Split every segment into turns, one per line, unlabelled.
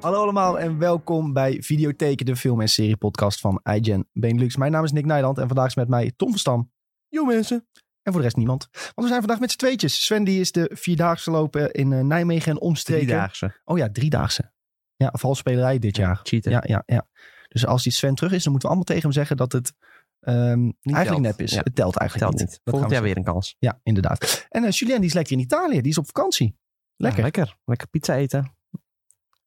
Hallo allemaal en welkom bij Videotheek, de film- en serie-podcast van iGen Benelux. Mijn naam is Nick Nijland en vandaag is met mij Tom van Stam. Yo mensen. En voor de rest niemand. Want we zijn vandaag met z'n tweetjes. Sven die is de Vierdaagse lopen in eh, Nijmegen en omstreken.
Driedaagse.
Oh ja, Driedaagse. Ja, valsspelerij dit jaar.
Cheaten.
Ja, ja, ja. Dus als die Sven terug is, dan moeten we allemaal tegen hem zeggen dat het ehm, eigenlijk
telt.
nep is.
Ja.
Het telt eigenlijk
Telt
niet.
niet.
Dat
Volgend
gaan
jaar
we
weer een kans.
zien. Ja, inderdaad. En eh, Julien die is lekker in Italië. Die is op vakantie. Lekker.
Ja, lekker. Lekker pizza eten.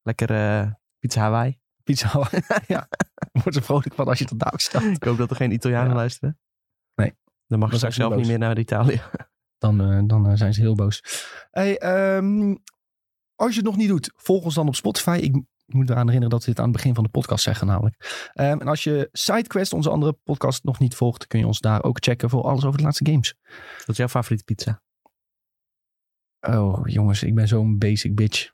Lekker eh, pizza Hawaii.
Pizza. ja. Wordt er vrolijk van als je dat daar ook stelt.
Ik hoop dat er geen Italianen
Ja.
luisteren.
Nee.
Dan mag
Dan zijn
ik straks
ze
zelf
boos.
niet meer naar Italië.
dan, eh, dan eh, zijn ze heel boos. Hey, ehm, als je het nog niet doet, volg ons dan op Spotify. Ik m- moet eraan herinneren dat we dit aan het begin van de podcast zeggen namelijk. Ehm, en als je SideQuest, onze andere podcast, nog niet volgt, kun je ons daar ook checken voor alles over de laatste games.
Wat is jouw favoriete pizza?
Oh, jongens, ik ben zo'n basic bitch.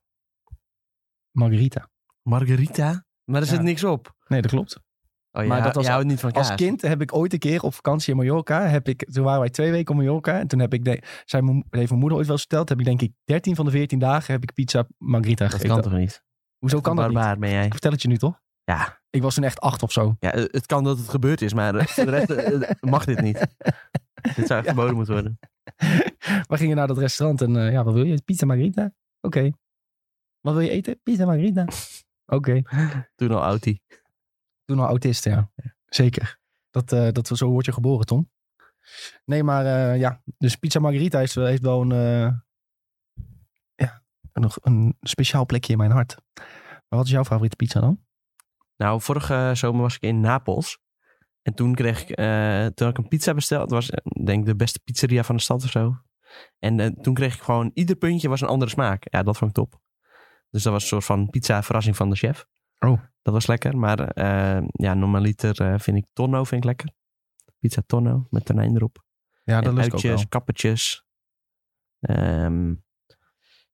Margarita.
Margarita? Maar er zit
Ja.
niks op.
Nee, dat klopt.
Oh,
Maar
maar
dat
dat
was-
je houdt niet van kaas.
Als kind heb ik ooit een keer op vakantie in Mallorca, heb ik, toen waren wij twee weken op Mallorca. En toen heb ik, de, zei mijn, heeft mijn moeder ooit wel eens verteld, heb ik denk ik 13 van de 14 dagen heb ik pizza margarita
Dat
gegeten.
kan toch niet?
Hoezo kan dat niet?
Barbaar ben jij.
Ik vertel het je nu toch?
Ja.
Ik was toen echt acht of zo.
ja, eh, het kan dat het gebeurd is, maar eh, voor de rest eh, eh, mag dit niet. Dit zou echt
Ja.
verboden moeten worden.
We gingen naar dat restaurant en eh, ja, wat wil je? Pizza margarita? Oké. Wat wil je eten? Pizza margarita. Oké.
Toen al Audi.
Toen al autist, ja. Zeker. Dat, eh, dat, zo word je geboren, Tom. Nee, maar eh, ja. Dus pizza margarita heeft, heeft wel een, eh, ja, een, een speciaal plekje in mijn hart. Maar wat is jouw favoriete pizza dan?
Nou, vorige zomer was ik in Napels. En toen kreeg ik, eh, toen had ik een pizza besteld. Het was eh, denk ik de beste pizzeria van de stad of zo. En eh, toen kreeg ik gewoon, ieder puntje was een andere smaak. Ja, dat vond ik top. Dus dat was een soort van pizza verrassing van de chef.
Oh.
Dat was lekker. Maar eh, ja, normaliter eh, vind ik tonno vind ik lekker. Pizza tonno met tonijn erop.
Ja,
En uitjes, kappertjes. Ehm,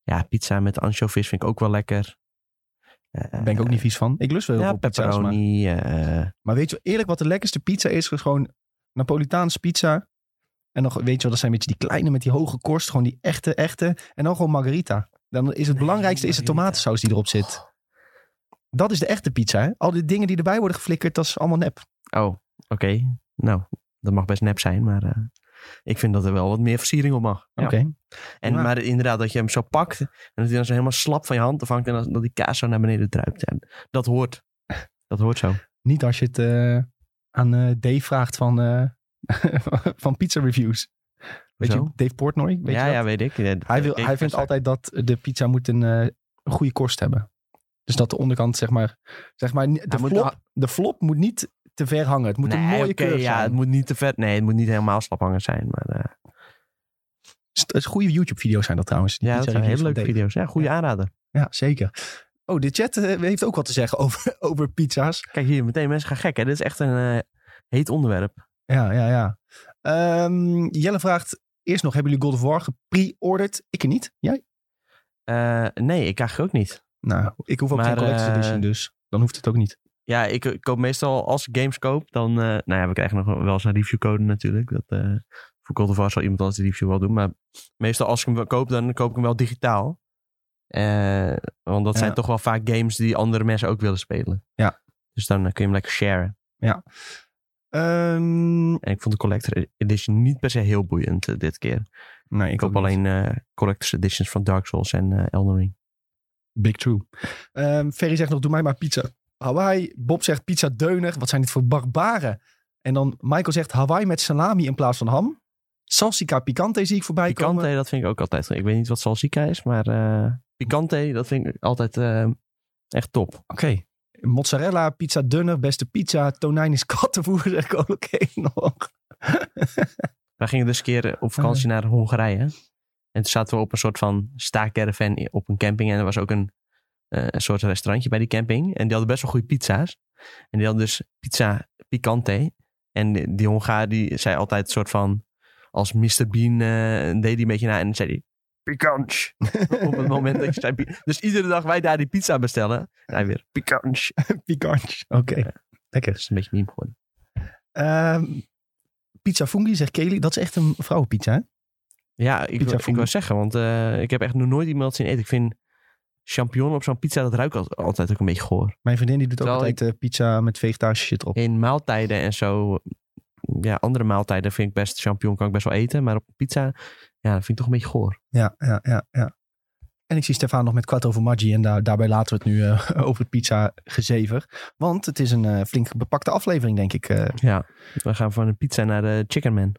ja, pizza met anchovies vind ik ook wel lekker. Eh,
Daar ben ik ook niet vies van. Ik lust wel heel
ja,
veel pizza's, maar...
pepperoni. eh,
Maar weet je wel, eerlijk wat de lekkerste pizza is? Is Gewoon Napolitaans pizza. En nog, weet je wel, dat zijn een beetje die kleine met die hoge korst. Gewoon die echte, echte. En dan gewoon margarita. Dan is het belangrijkste is de
margarita.
tomatensaus die erop zit.
Oh,
Dat is de echte pizza, hè? Al die dingen die erbij worden geflikkerd, dat is allemaal nep.
Oh, oké. Nou, dat mag best nep zijn, maar eh, ik vind dat er wel wat meer versiering op mag. Ja.
Oké.
En,
Ja.
Maar inderdaad, dat je hem zo pakt en dat hij dan zo helemaal slap van je hand afhangt en dan- dat die kaas zo naar beneden druipt. En dat hoort. Dat hoort zo.
Niet als je het eh, aan eh, Dave vraagt van, eh, van pizza reviews. Weet
Hoezo?
je, Dave Portnoy, weet
ja,
je dat?
ja, weet ik. Ja, dat-
Hij, wil,
ik- ik-
hij vindt altijd dat de pizza moet een, eh, een goede korst hebben. Dus dat de onderkant, zeg maar, zeg maar de,
Hij moet-
flop, de flop moet niet te ver hangen. Het moet een
Nee,
mooie
oké,
curve
ja,
zijn.
het moet niet te vet. Nee, het moet niet helemaal slaphangend zijn. Maar eh,
St- het goede YouTube-video's zijn dat trouwens. die
ja, dat
pizza
zijn hele
reviews
leuke
van Dave.
video's. Ja, goede aanrader.
Ja, zeker. Oh, de chat eh, heeft ook wat te zeggen over, over pizza's.
Kijk hier, meteen mensen gaan gek. Hè? Dit is echt een eh, heet onderwerp.
Ja, ja, ja. Ehm, Jelle vraagt eerst nog, hebben jullie God of War gepre-ordered? Ik niet. Jij?
Eh, nee, ik krijg ook niet.
Nou, ik hoef ook
Maar,
geen collector's
eh,
edition, dus dan hoeft het ook niet.
Ja, ik eh, koop meestal als ik games koop, dan. eh, nou ja, we krijgen nog wel eens een reviewcode natuurlijk. Dat, eh voor God of War zal iemand anders die review wel doen. Maar meestal als ik hem wel koop, dan koop ik hem wel digitaal. Eh, want dat
Ja.
zijn toch wel vaak games die andere mensen ook willen spelen.
Ja.
Dus dan eh, kun je hem lekker sharen.
Ehm,
En ik vond de Collector Edition niet per se heel boeiend eh, dit keer. Ik,
nee, ik
koop
ook niet.
alleen eh Collector's Editions van Dark Souls en eh Elden Ring.
Big true. Ehm, Ferry zegt nog, doe mij maar pizza Hawaii. Bob zegt pizza deuner. Wat zijn dit voor barbaren? En dan Michael zegt Hawaii met salami in plaats van ham. Salsica picante zie ik voorbij komen.
Picante, dat vind ik ook altijd. Ik weet niet wat Salsika is, maar eh Picante, dat vind ik altijd eh, echt top.
Oké. Mozzarella, pizza dunner, beste pizza. Tonijn is kattenvoer, zeg ik ook. Oké, nog.
Wij gingen dus een keer op vakantie naar Hongarije. En toen zaten we op een soort van staakcaravan op een camping. En er was ook een, eh, een soort restaurantje bij die camping. En die hadden best wel goede pizza's. En die hadden dus pizza picante. En die, die Hongaar die zei altijd een soort van... Als Mr. Bean eh, deed hij een beetje na en dan zei hij... Pikant. op het moment dat je zei... pi- Dus iedere dag wij daar die pizza bestellen. En hij weer pikant.
Pikantje. Oké,
Dat
lekker.
is een beetje meme geworden.
Ehm, pizza fungi, zegt Kelly. Dat is echt een vrouwenpizza, hè?
Ja, ik,
Pizza
wil, ik
Fondue.
wou zeggen, want eh, ik heb echt nog nooit iemand zien eten. Ik vind champignon op zo'n pizza, dat ruikt al- altijd ook een beetje goor.
Mijn vriendin die doet ook
Terwijl
altijd eh, pizza met vegetarische shit op.
In maaltijden en zo, ja, andere maaltijden vind ik best, champignon kan ik best wel eten. Maar op pizza, ja, dat vind ik toch een beetje goor.
Ja, ja, ja, ja. En ik zie Stefan nog met kwart over Maggi. En daar, daarbij laten we het nu eh, over het pizza gezever. Want het is een eh, flink bepakte aflevering, denk ik. eh,
Ja, we gaan van de pizza naar de chicken man.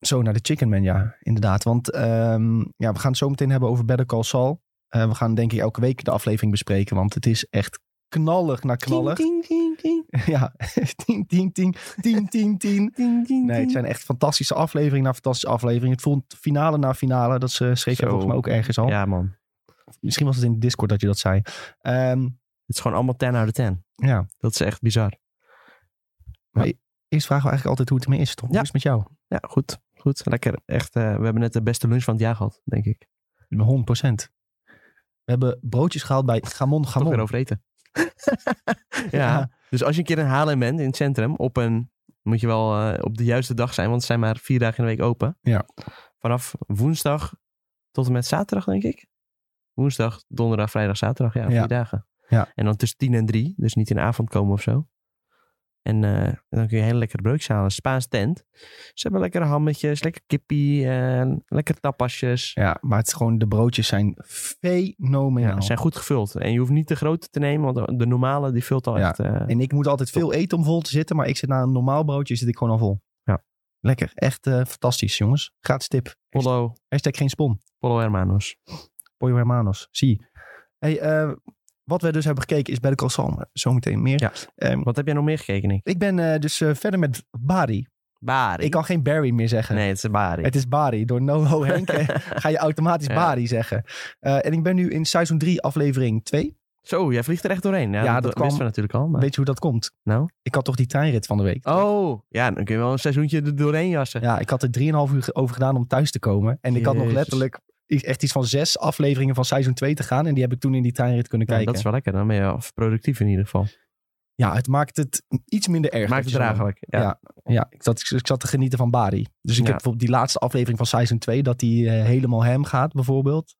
zo naar de Chicken Man, ja, inderdaad. Want ehm, ja, we gaan het zo meteen hebben over Better Call Saul. Eh, we gaan denk ik elke week de aflevering bespreken, want het is echt knallig naar knallig.
Ding, ding, ding,
Ja, tien, tien, tien, tien, tien, tien.
ding, ding,
Nee, het
ding.
zijn echt fantastische afleveringen na fantastische afleveringen. Het voelt finale na finale. Dat eh, schreef jij
Zo.
volgens mij ook ergens al.
Ja man,
Misschien was het in de Discord dat je dat zei. Ehm,
het is gewoon allemaal 10 out of 10.
ja,
Dat is echt bizar.
eerst vragen we eigenlijk altijd hoe het ermee is, toch?
Ja.
Hoe is het met jou?
Ja, goed. Goed. Lekker. Echt, eh, we hebben net de beste lunch van het jaar gehad, denk ik.
100%. We hebben broodjes gehaald bij Gamon
Toch weer
Gamon.
over eten. ja. Dus als je een keer in Haarlem bent, in het centrum, op een... Moet je wel eh, op de juiste dag zijn, want ze zijn maar vier dagen in de week open.
Ja.
Vanaf woensdag tot en met zaterdag, denk ik. Woensdag, donderdag, vrijdag, zaterdag. Ja,
Ja.
vier dagen.
Ja.
En dan tussen tien en drie. Dus niet in de avond komen of zo. En eh, dan kun je hele lekkere broodjes halen. Spaans tent. Ze hebben lekkere hammetjes, lekker kippie, eh, lekker tapasjes.
Ja, maar het is gewoon, de broodjes zijn fenomenaal.
Ja, ze zijn goed gevuld. En je hoeft niet de grote te nemen, want de- de normale die vult al
Ja.
echt. eh,
En ik moet altijd veel eten om vol te zitten, maar ik zit na een normaal broodje zit ik gewoon al vol.
Ja.
Lekker, echt eh, fantastisch jongens. Gratis tip.
Polo,
Hashtag geen spon.
Polo Hermanos.
Pollo hermanos, zie. Hey, eh, wat we dus hebben gekeken is bij de croissant. Zometeen meer.
Ja.
Ehm,
Wat heb jij nog meer gekeken, Nick?
ik ben eh, dus eh, verder met Bari.
Bari.
Ik kan geen Barry meer zeggen.
Nee, het is Bari.
Het is Bari. Door Noho Henk eh, ga je automatisch
Ja.
Bari zeggen. Eh, en ik ben nu in seizoen 3, aflevering 2.
Zo, jij vliegt er echt doorheen. Ja,
Ja, dat
dat, wisten
kwam-
we natuurlijk al. Maar...
Weet je hoe dat komt?
Nou?
Ik had toch die treinrit van de week?
Oh, ja, dan kun je wel een seizoentje er doorheen jassen.
Ja, ik had er 3,5 uur ge- over gedaan om thuis te komen. En ik had nog
Jezus.
letterlijk i- echt iets van zes afleveringen van seizoen 2 te gaan. En die heb ik toen in die treinrit kunnen
Ja,
kijken.
dat is wel lekker. Dan ben je wel productief in ieder geval.
Ja, het maakt het iets minder erg.
Maakt
dat
het
je zo-
draaglijk. Ja.
Ja. Ja, ik zat, ik zat te genieten van Bari. Dus ik heb
Ja.
bijvoorbeeld die laatste aflevering van seizoen 2, dat die eh, helemaal hem gaat bijvoorbeeld.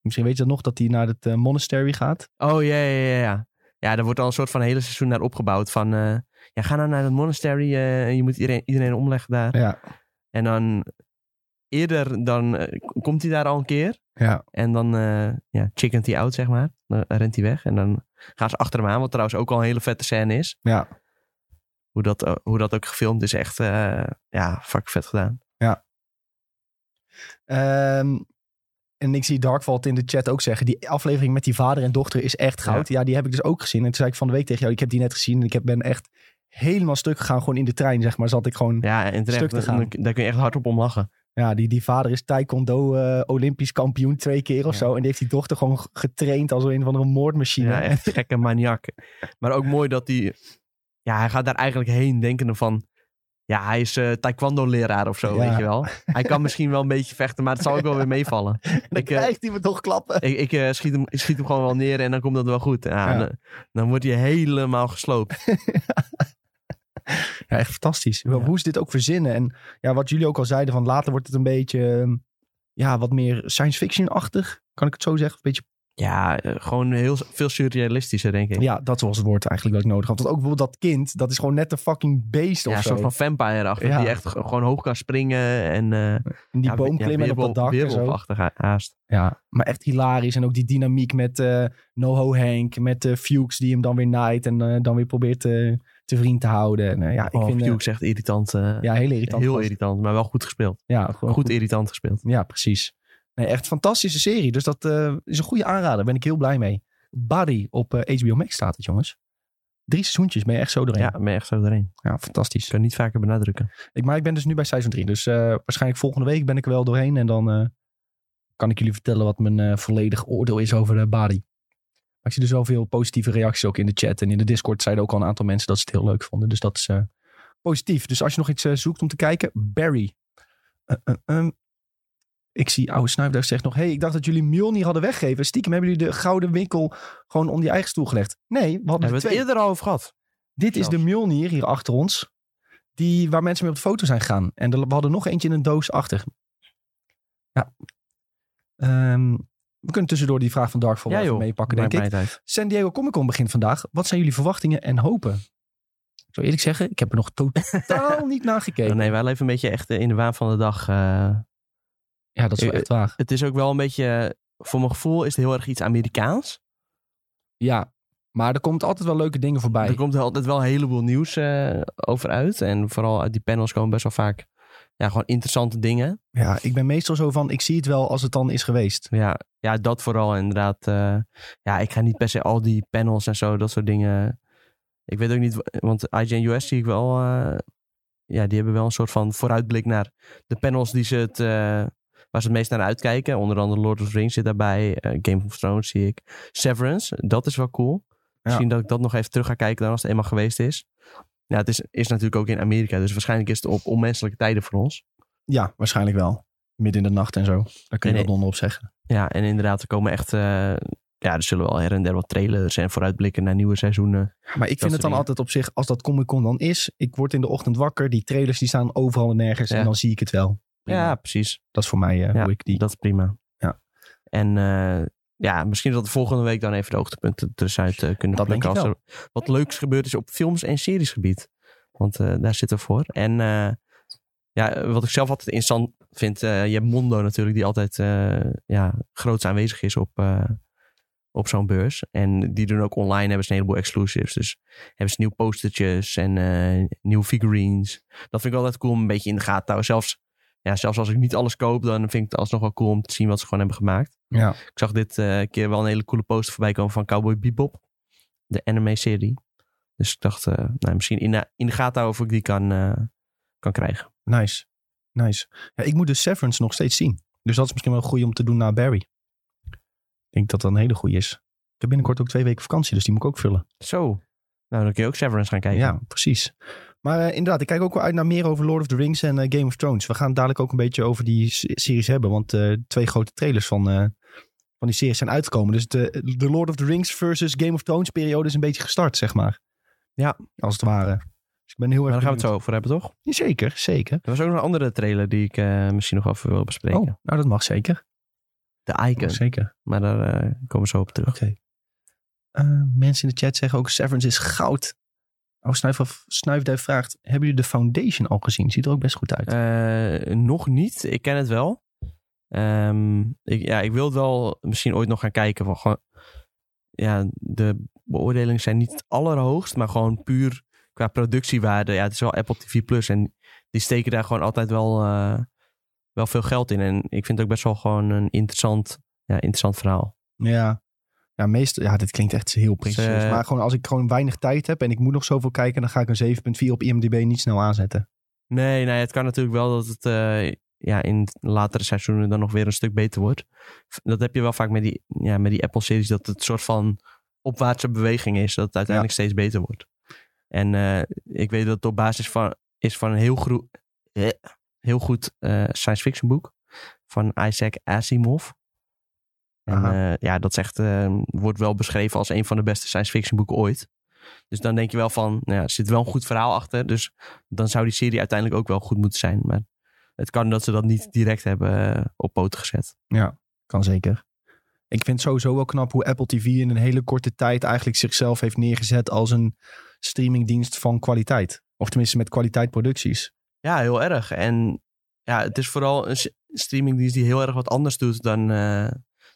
Misschien weet je dat nog, dat hij naar het eh, monastery gaat.
Oh, ja, ja, ja, ja. Ja, er wordt al een soort van hele seizoen naar opgebouwd. Van, eh, ja, ga nou naar het monastery. eh, en je moet iedereen, iedereen omleggen daar.
Ja,
En dan eerder dan eh, k- komt hij daar al een keer.
ja.
En dan eh ja, chickent hij out, zeg maar. Dan rent hij weg. En dan gaan ze achter hem aan. Wat trouwens ook al een hele vette scène is.
Ja.
Hoe dat, eh, hoe dat ook gefilmd is echt, eh, ja, fuck vet gedaan.
Ehm, en ik zie Darkvault in de chat ook zeggen, die aflevering met die vader en dochter is echt goud. Ja, die heb ik dus ook gezien. En toen zei ik van de week tegen jou, ik heb die net gezien. En ik heb, ben echt helemaal stuk gegaan, gewoon in de trein, zeg maar. Zat ik gewoon, ja,
Ja, en
Stuk
terecht,
te
dan-
gaan.
dan- daar kun je echt hard op om lachen.
die, die vader is taekwondo eh, olympisch kampioen twee keer of
Ja.
zo. En die heeft die dochter gewoon g- getraind als een van een moordmachine.
Ja, echt gekke maniak. Maar ook mooi dat hij... Ja, hij gaat daar eigenlijk heen denkende van... Ja, hij is eh, taekwondo-leraar of zo,
Ja.
weet je wel. Hij kan misschien wel een beetje vechten, maar het zal ook wel weer meevallen.
Dan
Ik, eh,
krijgt hij me toch klappen.
Ik, ik eh, schiet, hem, ik schiet hem gewoon wel neer en dan komt dat wel goed. Ja,
Ja.
Dan, dan wordt hij helemaal gesloopt.
Ja, echt fantastisch. Hoe-
Ja.
Hoe ze dit ook verzinnen. En ja, wat jullie ook al zeiden, van later wordt het een beetje ehm, ja, wat meer science fiction-achtig. Kan ik het zo zeggen? Een beetje,
Ja, eh, gewoon heel, veel surrealistischer, denk ik.
ja, dat was het woord eigenlijk dat ik nodig had. Want ook bijvoorbeeld dat kind, dat is gewoon net een fucking beest of
Ja, een
zo.
soort van vampire achter
Ja.
die echt g- gewoon hoog kan springen en eh,
En die
ja,
boom
ja,
klimmen en op dat dak
weerwolf-
en zo.
weerwolfachtig ha- haast.
Ja, maar echt hilarisch. En ook die dynamiek met eh, NoHo Henk, met eh Fuchs die hem dan weer naait en eh, dan weer probeert eh, te vriend te houden. En, eh, ja, ik
oh,
vind eh,
Fuchs echt irritant. eh,
ja, heel irritant.
heel
gast.
irritant, maar wel goed gespeeld.
Ja, gewoon
goed irritant gespeeld.
Ja, precies. Nee, echt fantastische serie. Dus dat eh, is een goede aanrader. ben ik heel blij mee. Barry op eh, HBO Max staat het, jongens. Drie seizoentjes ben je echt zo doorheen.
Ja,
Ja,
ik ben echt zo doorheen.
fantastisch.
Ik kan het niet vaker benadrukken.
Ik, maar ik ben dus nu bij seizoen 3. Dus eh, waarschijnlijk volgende week ben ik er wel doorheen. En dan eh, kan ik jullie vertellen wat mijn eh, volledig oordeel is over eh Barry. Maar ik zie dus wel veel positieve reacties ook in de chat. En in de Discord zeiden ook al een aantal mensen dat ze het heel leuk vonden. Dus dat is eh, positief. Dus als je nog iets eh, zoekt om te kijken, Barry. Eh, eh, ehm. ik zie oude Snuifduif zegt nog... hey, ik dacht dat jullie Mjolnir hadden weggegeven. Stiekem hebben jullie de gouden winkel gewoon om je eigen stoel gelegd. Nee, we hadden
Hebben
er
we het
twee.
eerder al over gehad?
Dit is de
Zelfs.
Mjolnir hier achter ons. Die, waar mensen mee op de foto zijn gegaan. En er- we hadden nog eentje in een doos achter. Ja. Ehm, We kunnen tussendoor die vraag van Darkfall wel
Ja,
even
joh.
meepakken,
Maakt
denk ik.
mij niet uit.
San Diego Comic Con begint vandaag. Wat zijn jullie verwachtingen en hopen? Ik zou eerlijk zeggen, ik heb er nog totaal niet naar gekeken.
Nee, wij leven een beetje echt eh, in de waan van de dag. eh.
Ja, dat is wel echt waar.
het is ook wel een beetje, eh, voor mijn gevoel is het heel erg iets Amerikaans.
Ja, maar er komt altijd wel leuke dingen voorbij.
Er komt wel- altijd wel een heleboel nieuws eh, over uit. En vooral uit die panels komen best wel vaak ja, gewoon interessante dingen.
Ja, ik ben meestal zo van, ik zie het wel als het dan is geweest.
Ja, ja dat vooral inderdaad. eh, ja, ik ga niet per se al die panels en zo, dat soort dingen. Ik weet ook niet, wa- want IGN US zie ik wel... eh, ja, die hebben wel een soort van vooruitblik naar de panels die ze het... eh, Waar ze het meest naar uitkijken. Onder andere Lord of the Rings zit daarbij. eh, Game of Thrones zie ik. Severance, dat is wel cool. Misschien dat ik dat nog even terug ga kijken dan als het eenmaal geweest is. Ja, het is, is natuurlijk ook in Amerika. Dus waarschijnlijk is het op onmenselijke tijden voor ons.
Ja, waarschijnlijk wel. Midden in de nacht en zo. Daar kun je
Nee,
wat onderop zeggen.
Ja, en inderdaad, er komen echt... eh, ja, er zullen wel her en der wat trailers en vooruitblikken naar nieuwe seizoenen.
Maar ik vind
soort
het dan
dingen.
altijd op zich, als dat Comic Con dan is, ik word in de ochtend wakker, die trailers die staan overal en nergens
Ja.
en dan zie ik het wel. Prima.
Ja, precies.
Dat is voor mij eh,
Ja,
hoe ik die...
Dat is prima.
Ja.
En eh, ja, misschien dat we volgende week dan even de hoogtepunten eruit eh, kunnen
Dat denk
plukken.
ik
Als er wat leuks gebeurd is op films- en seriesgebied. Want eh, daar zitten we voor. En eh, ja, wat ik zelf altijd interessant vind. eh, je hebt Mondo natuurlijk, die altijd eh, ja, groots aanwezig is op, eh, op zo'n beurs. En die doen ook online, hebben ze een heleboel exclusives. Dus hebben ze nieuwe postertjes en eh, nieuwe figurines. Dat vind ik altijd cool om een beetje in de gaten te houden. Zelfs, ja, zelfs als ik niet alles koop, dan vind ik het alsnog wel cool om te zien wat ze gewoon hebben gemaakt.
Ja.
Ik zag dit eh, keer wel een hele coole poster voorbij komen van Cowboy Bebop. De anime-serie. Dus ik dacht, eh, nou, misschien in de, in de gaten houden of ik die kan, eh, kan krijgen.
Nice. Nice. Ja, ik moet de Severance nog steeds zien. Dus dat is misschien wel een goede om te doen na Barry. Ik denk dat dat een hele goede is. Ik heb binnenkort ook twee weken vakantie, dus die moet ik ook vullen.
Zo. Nou, dan kun je ook Severance gaan kijken. Nou,
Ja, precies. Maar eh, inderdaad, ik kijk ook wel uit naar meer over Lord of the Rings en eh, Game of Thrones. We gaan het dadelijk ook een beetje over die s- series hebben. Want eh, twee grote trailers van, eh, van die series zijn uitgekomen. Dus de, de Lord of the Rings versus Game of Thrones periode is een beetje gestart, zeg maar.
Ja.
Als het ware. Dus ik ben heel erg
Maar daar gaan we het
benieuwd.
zo over hebben, toch?
Zeker, zeker.
Er was ook nog een andere trailer die ik eh, misschien nog over wil bespreken.
Oh, nou dat mag zeker.
De
Mag
Icon.
zeker.
Maar daar eh, komen we zo op terug.
Oké. Eh, mensen in de chat zeggen ook Severance is goud. Oh, Snuif- Snuifduif vraagt, hebben jullie de Foundation al gezien? Ziet er ook best goed uit.
Eh, nog niet. Ik ken het wel. Ehm, ik, ja, ik wil het wel misschien ooit nog gaan kijken. Van gewoon, ja, de beoordelingen zijn niet het allerhoogst, maar gewoon puur qua productiewaarde. Ja, het is wel Apple TV Plus en die steken daar gewoon altijd wel, eh, wel veel geld in. En ik vind het ook best wel gewoon een interessant, ja, interessant verhaal.
Ja. Ja, meestal, ja, dit klinkt echt heel pretentieus.
Ze-
maar gewoon als ik gewoon weinig tijd heb en ik moet nog zoveel kijken, dan ga ik een 7.4 op IMDb niet snel aanzetten.
Nee, nee, het kan natuurlijk wel dat het eh, ja, in latere seizoenen dan nog weer een stuk beter wordt. Dat heb je wel vaak met die, ja, met die Apple-series, dat het een soort van opwaartse beweging is. Dat het uiteindelijk steeds beter wordt. En eh, ik weet dat het op basis van, is van een heel, gro- eh, heel goed eh, science fiction boek van Isaac Asimov. En,
Aha.
eh, ja, dat is echt, eh, wordt wel beschreven als een van de beste science fiction boeken ooit. Dus dan denk je wel van, nou ja, er zit wel een goed verhaal achter. Dus dan zou die serie uiteindelijk ook wel goed moeten zijn. Maar het kan dat ze dat niet direct hebben eh, op poten gezet.
Kan zeker. Ik vind het sowieso wel knap hoe Apple TV in een hele korte tijd eigenlijk zichzelf heeft neergezet als een streamingdienst van kwaliteit. Of tenminste met kwaliteit producties.
Ja, heel erg. En ja, het is vooral een s- streamingdienst die heel erg wat anders doet dan eh,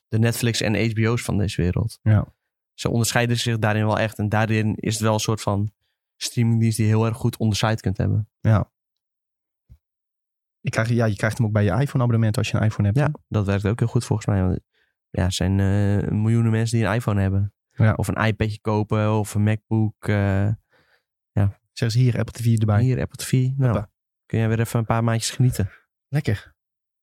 de Netflix en HBO's van deze wereld.
Ja.
Ze onderscheiden zich daarin wel echt. En daarin is het wel een soort van streamingdienst die je heel erg goed onderscheid kunt hebben.
Ik krijg, ja, je krijgt hem ook bij je iPhone abonnement als je een iPhone hebt.
Ja, dat werkt ook heel goed volgens mij. Want ja, er zijn eh, miljoenen mensen die een iPhone hebben.
Ja.
Of een iPadje kopen, of een MacBook. eh,
Zeggen ze hier Apple TV erbij.
hier, Apple TV. Nou,
Hoppa.
kun jij weer even een paar maandjes genieten.
Lekker.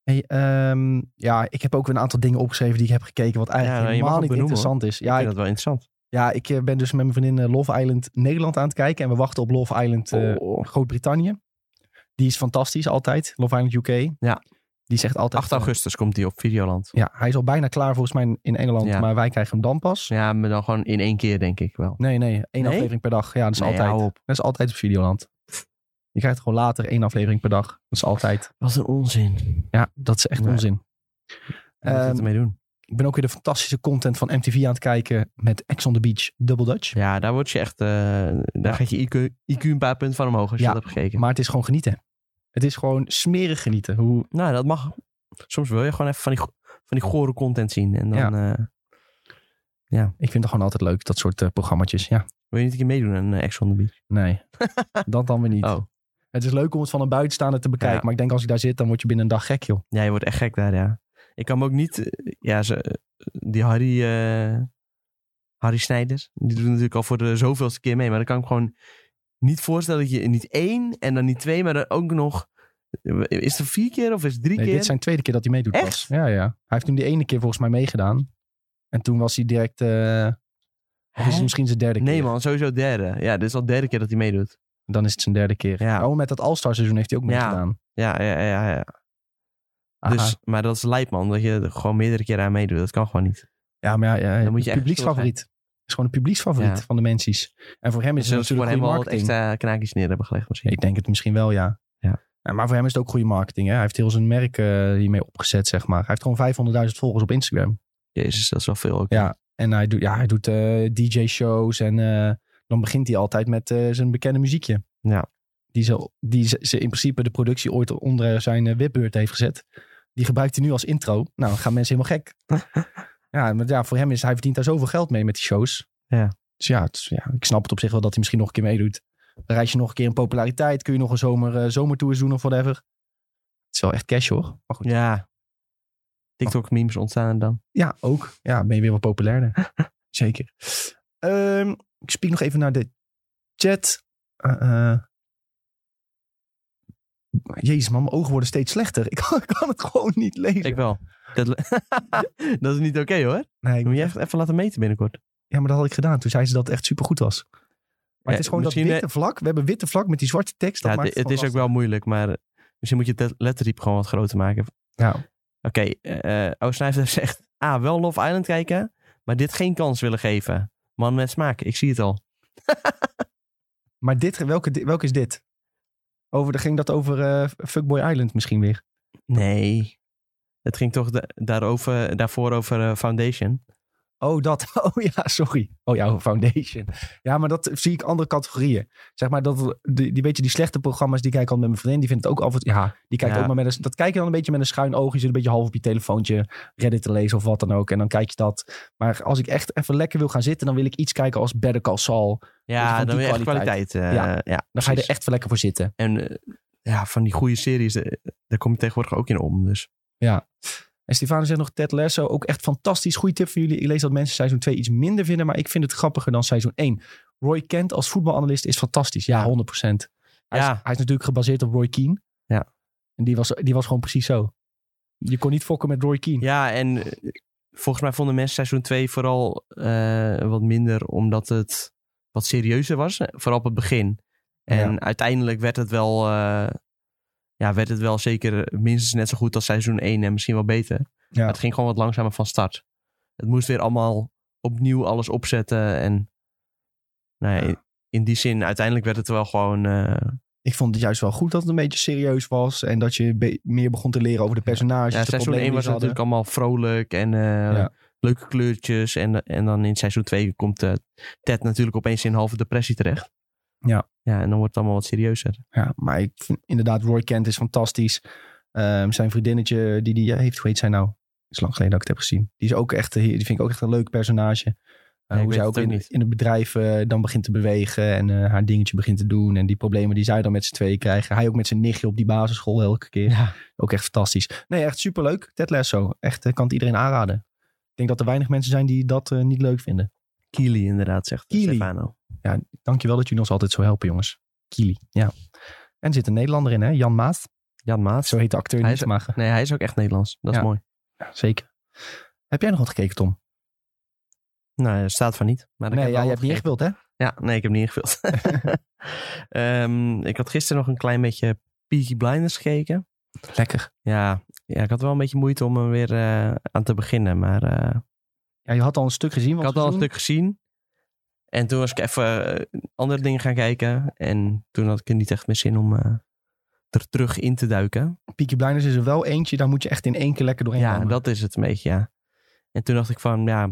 Hey, ehm, ja, ik heb ook een aantal dingen opgeschreven die ik heb gekeken, wat
Ja,
eigenlijk
nou, je mag
helemaal
het
niet
benoemen,
interessant is. Ja,
ik vind
ik,
dat wel interessant.
ja, ik eh, ben dus met mijn vriendin eh, Love Island Nederland aan het kijken en we wachten op Love Island eh,
Oh.
Groot-Brittannië. Die is fantastisch altijd, Love Island UK.
Ja.
Die zegt altijd...
8 augustus komt die op Videoland.
Ja, hij is al bijna klaar volgens mij in Engeland,
Ja.
maar wij krijgen hem dan pas.
Ja, maar dan gewoon in één keer denk ik wel.
Nee, nee, één
Nee?
aflevering per dag. Ja, dat is
Nee,
altijd.
hou op.
Dat is altijd op Videoland. Je krijgt gewoon later één aflevering per dag. Dat is altijd.
Wat een onzin.
Ja, dat is echt
Nee.
onzin.
Wat moet je
Ehm,
ermee doen?
Ik ben ook weer de fantastische content van MTV aan het kijken met Ex on the Beach, Double Dutch.
Ja, daar word je echt. eh, daar gaat je IQ, IQ een paar punten van omhoog als je
Ja.
dat hebt gekeken.
Maar het is gewoon genieten. Het is gewoon smerig genieten. Hoe,
Nou, dat mag. Soms wil je gewoon even van die, go- van die gore content zien. En dan eh,
ik vind het gewoon altijd leuk, dat soort eh, programma's. Ja,
wil je niet een keer meedoen aan eh, Ex on the Beach.
nee. dat dan weer niet.
Oh,
Het is leuk om het van een buitenstaander te bekijken.
Ja.
Maar ik denk als ik daar zit, dan word je binnen een dag gek, joh.
ja, je wordt echt gek daar, ja. Ik kan me ook niet... eh, Ja, ze, eh, die Harry... eh, Harry Snijders. Die doet natuurlijk al voor de zoveelste keer mee. Maar dan kan ik me gewoon niet voorstellen dat je niet één en dan niet twee, maar dan ook nog... eh, Is het vier keer of is het drie
Nee,
keer?
dit zijn de tweede keer dat hij meedoet.
Echt?
Pas. Ja, ja. Hij heeft toen die ene keer volgens mij meegedaan. En toen was hij direct... eh, of is
Hè?
het misschien zijn derde keer?
Nee man, sowieso derde. Ja, dit is al de derde keer dat hij meedoet.
Dan is het zijn derde keer.
Ja.
Oh, met dat All-Star seizoen heeft hij ook
Ja.
meegedaan.
Ja, ja, ja. ja.
Aha.
Dus, maar dat is lijp man, dat je er gewoon meerdere keren aan meedoet. Dat kan gewoon niet.
ja, maar ja, ja
Dan moet je echt
publieksfavoriet. Het is gewoon een publieksfavoriet
Ja.
van de mensies. En voor hem is
Dus
het
dat ze voor
natuurlijk
hem
goede
al
marketing.
wat extra knaakjes neer hebben gelegd misschien.
Ik denk het misschien wel, ja.
Ja.
maar voor hem is het ook goede marketing. Hè? Hij heeft heel zijn merk eh, hiermee opgezet, zeg maar. Hij heeft gewoon 500.000 volgers op Instagram.
Jezus, dat is wel veel ook.
Ja. En hij doet, ja, hij doet eh, DJ-shows en eh, dan begint hij altijd met eh, zijn bekende muziekje.
Ja.
Die, ze, die ze, ze in principe de productie ooit onder zijn eh, webbeurt heeft gezet. Die gebruikt hij nu als intro. Nou, dan gaan mensen helemaal gek. ja, maar ja, voor hem is hij verdient daar zoveel geld mee met die shows.
Ja.
Dus ja, het is- ja, ik snap het op zich wel dat hij misschien nog een keer meedoet. Dan reis je nog een keer in populariteit. Kun je nog een zomer, eh, zomertours doen of whatever. Het is wel echt cash hoor. Maar goed.
Ja. TikTok-memes ontstaan dan.
Ja, ook. Ja, ben je weer wat populairder. Zeker. Ehm, ik spiek nog even naar de chat. Eh, eh. Jezus man, mijn ogen worden steeds slechter. Ik kan, ik kan het gewoon niet lezen.
Ik wel. Dat, dat is niet oké hoor.
nee, ik-
Moet je echt even laten meten binnenkort.
ja, maar dat had ik gedaan. Toen zei ze dat het echt supergoed was. Maar het is gewoon dat
misschien, eh,
witte vlak. We hebben witte vlak met die zwarte tekst. Dat
Ja,
maakt
het,
het
het is ook
gewoon
wel moeilijk, maar eh, misschien moet je het lettertype gewoon wat groter maken.
lastig. Ja.
Oké, eh eh, O. Snijfter zegt... Ah, wel Love Island kijken, maar dit geen kans willen geven. Man met smaak, ik zie het al.
Maar dit, welke, di- welke is dit? Over, dan ging dat over eh, Fuckboy Island misschien weer.
Nee. Het ging toch da- daarover, daarvoor over eh, Foundation.
Oh, dat. Oh ja, sorry. Oh ja, Foundation. Ja, maar dat zie ik andere categorieën. Zeg maar, dat, die, die beetje die slechte programma's, die kijk ik altijd met mijn vriendin. Die vindt het ook altijd, ja, die kijkt
Ja.
ook maar met een, dat kijk je dan een beetje met een schuin oog. Je zit een beetje half op je telefoontje Reddit te lezen of wat dan ook. En dan kijk je dat. Maar als ik echt even lekker wil gaan zitten, dan wil ik iets kijken als Better Call Saul. Dus
Ja,
van
dan
die
wil je echt
kwaliteit.
kwaliteit. eh,
Ja.
ja.
Dan ga je
precies.
er echt voor lekker voor zitten.
En eh, ja, van die goede series, eh, daar kom je tegenwoordig ook in om. Dus
En Stefano zegt nog Ted Lasso, ook echt fantastisch. Goeie tip voor jullie. Ik lees dat mensen seizoen 2 iets minder vinden, maar ik vind het grappiger dan seizoen 1. Roy Kent als voetbalanalist is fantastisch. Ja, 100%. Hij,
Ja.
is, hij is natuurlijk gebaseerd op Roy Keane.
Ja.
En die was, die was gewoon precies zo. Je kon niet fokken met Roy Keane.
ja, en eh, volgens mij vonden mensen seizoen 2 vooral eh, wat minder omdat het wat serieuzer was, eh, vooral op het begin. En uiteindelijk werd het wel, eh, ja, werd het wel zeker minstens net zo goed als seizoen 1 en misschien wel beter.
Ja.
Maar het ging gewoon wat langzamer van start. Het moest weer allemaal opnieuw alles opzetten en nou ja,
Ja.
in, in die zin uiteindelijk werd het wel gewoon eh,
Ik vond het juist wel goed dat het een beetje serieus was. En dat je be- meer begon te leren over de personages.
Ja,
de
seizoen
problemen die
1 was
ze hadden.
natuurlijk allemaal vrolijk en eh,
Ja.
leuke kleurtjes. En, en dan in seizoen 2 komt eh, Ted natuurlijk opeens in een halve depressie terecht.
Ja.
Ja, en dan wordt het allemaal wat serieuzer.
Ja, maar ik vind inderdaad, Roy Kent is fantastisch. Ehm, zijn vriendinnetje die die heeft, hoe heet zij nou? Het is lang geleden dat ik het heb gezien. Die, is ook echt, eh, die vind ik ook echt een leuk personage. Eh,
ik
hoe
weet
zij
het
ook in,
ook niet.
in het bedrijf eh, dan begint te bewegen en eh, haar dingetje begint te doen. En die problemen die zij dan met z'n tweeën krijgen. Hij ook met zijn nichtje op die basisschool elke keer.
Ja.
Ook echt fantastisch. Nee, echt superleuk. Ted Lasso. Echt, eh, kan het iedereen aanraden. Ik denk dat er weinig mensen zijn die dat eh, niet leuk vinden.
Kili inderdaad, zegt
Keely.
Stefano.
Dankjewel dat jullie ons altijd zo helpen, jongens. Kili, ja. En er zit een Nederlander in, hè? Jan Maat.
Jan Maat.
Zo heet de acteur
Hij
niet,
is-
maar...
Nee, hij is ook echt Nederlands. Dat is
Ja.
mooi.
Ja, zeker. Heb jij nog wat gekeken, Tom?
Nou, er staat van niet. Maar ik
nee,
heb
ja, je
wel wat
hebt niet echt wild, hè?
Ja, nee, ik heb niet ingevuld. Ehm, ik had gisteren nog een klein beetje Peaky Blinders gekeken.
Lekker.
Ja, ja, ik had wel een beetje moeite om er weer eh, aan te beginnen. Maar eh,
Ja, je had al een stuk gezien.
Ik
want
had al een
seizoen-
stuk gezien. En toen was ik even eh, andere dingen gaan kijken. En toen had ik er niet echt meer zin om eh, er terug in te duiken.
Peaky Blinders is er wel eentje. Daar moet je echt in één keer lekker doorheen
ja,
rammen.
dat is het een beetje, ja. En toen dacht ik van, ja...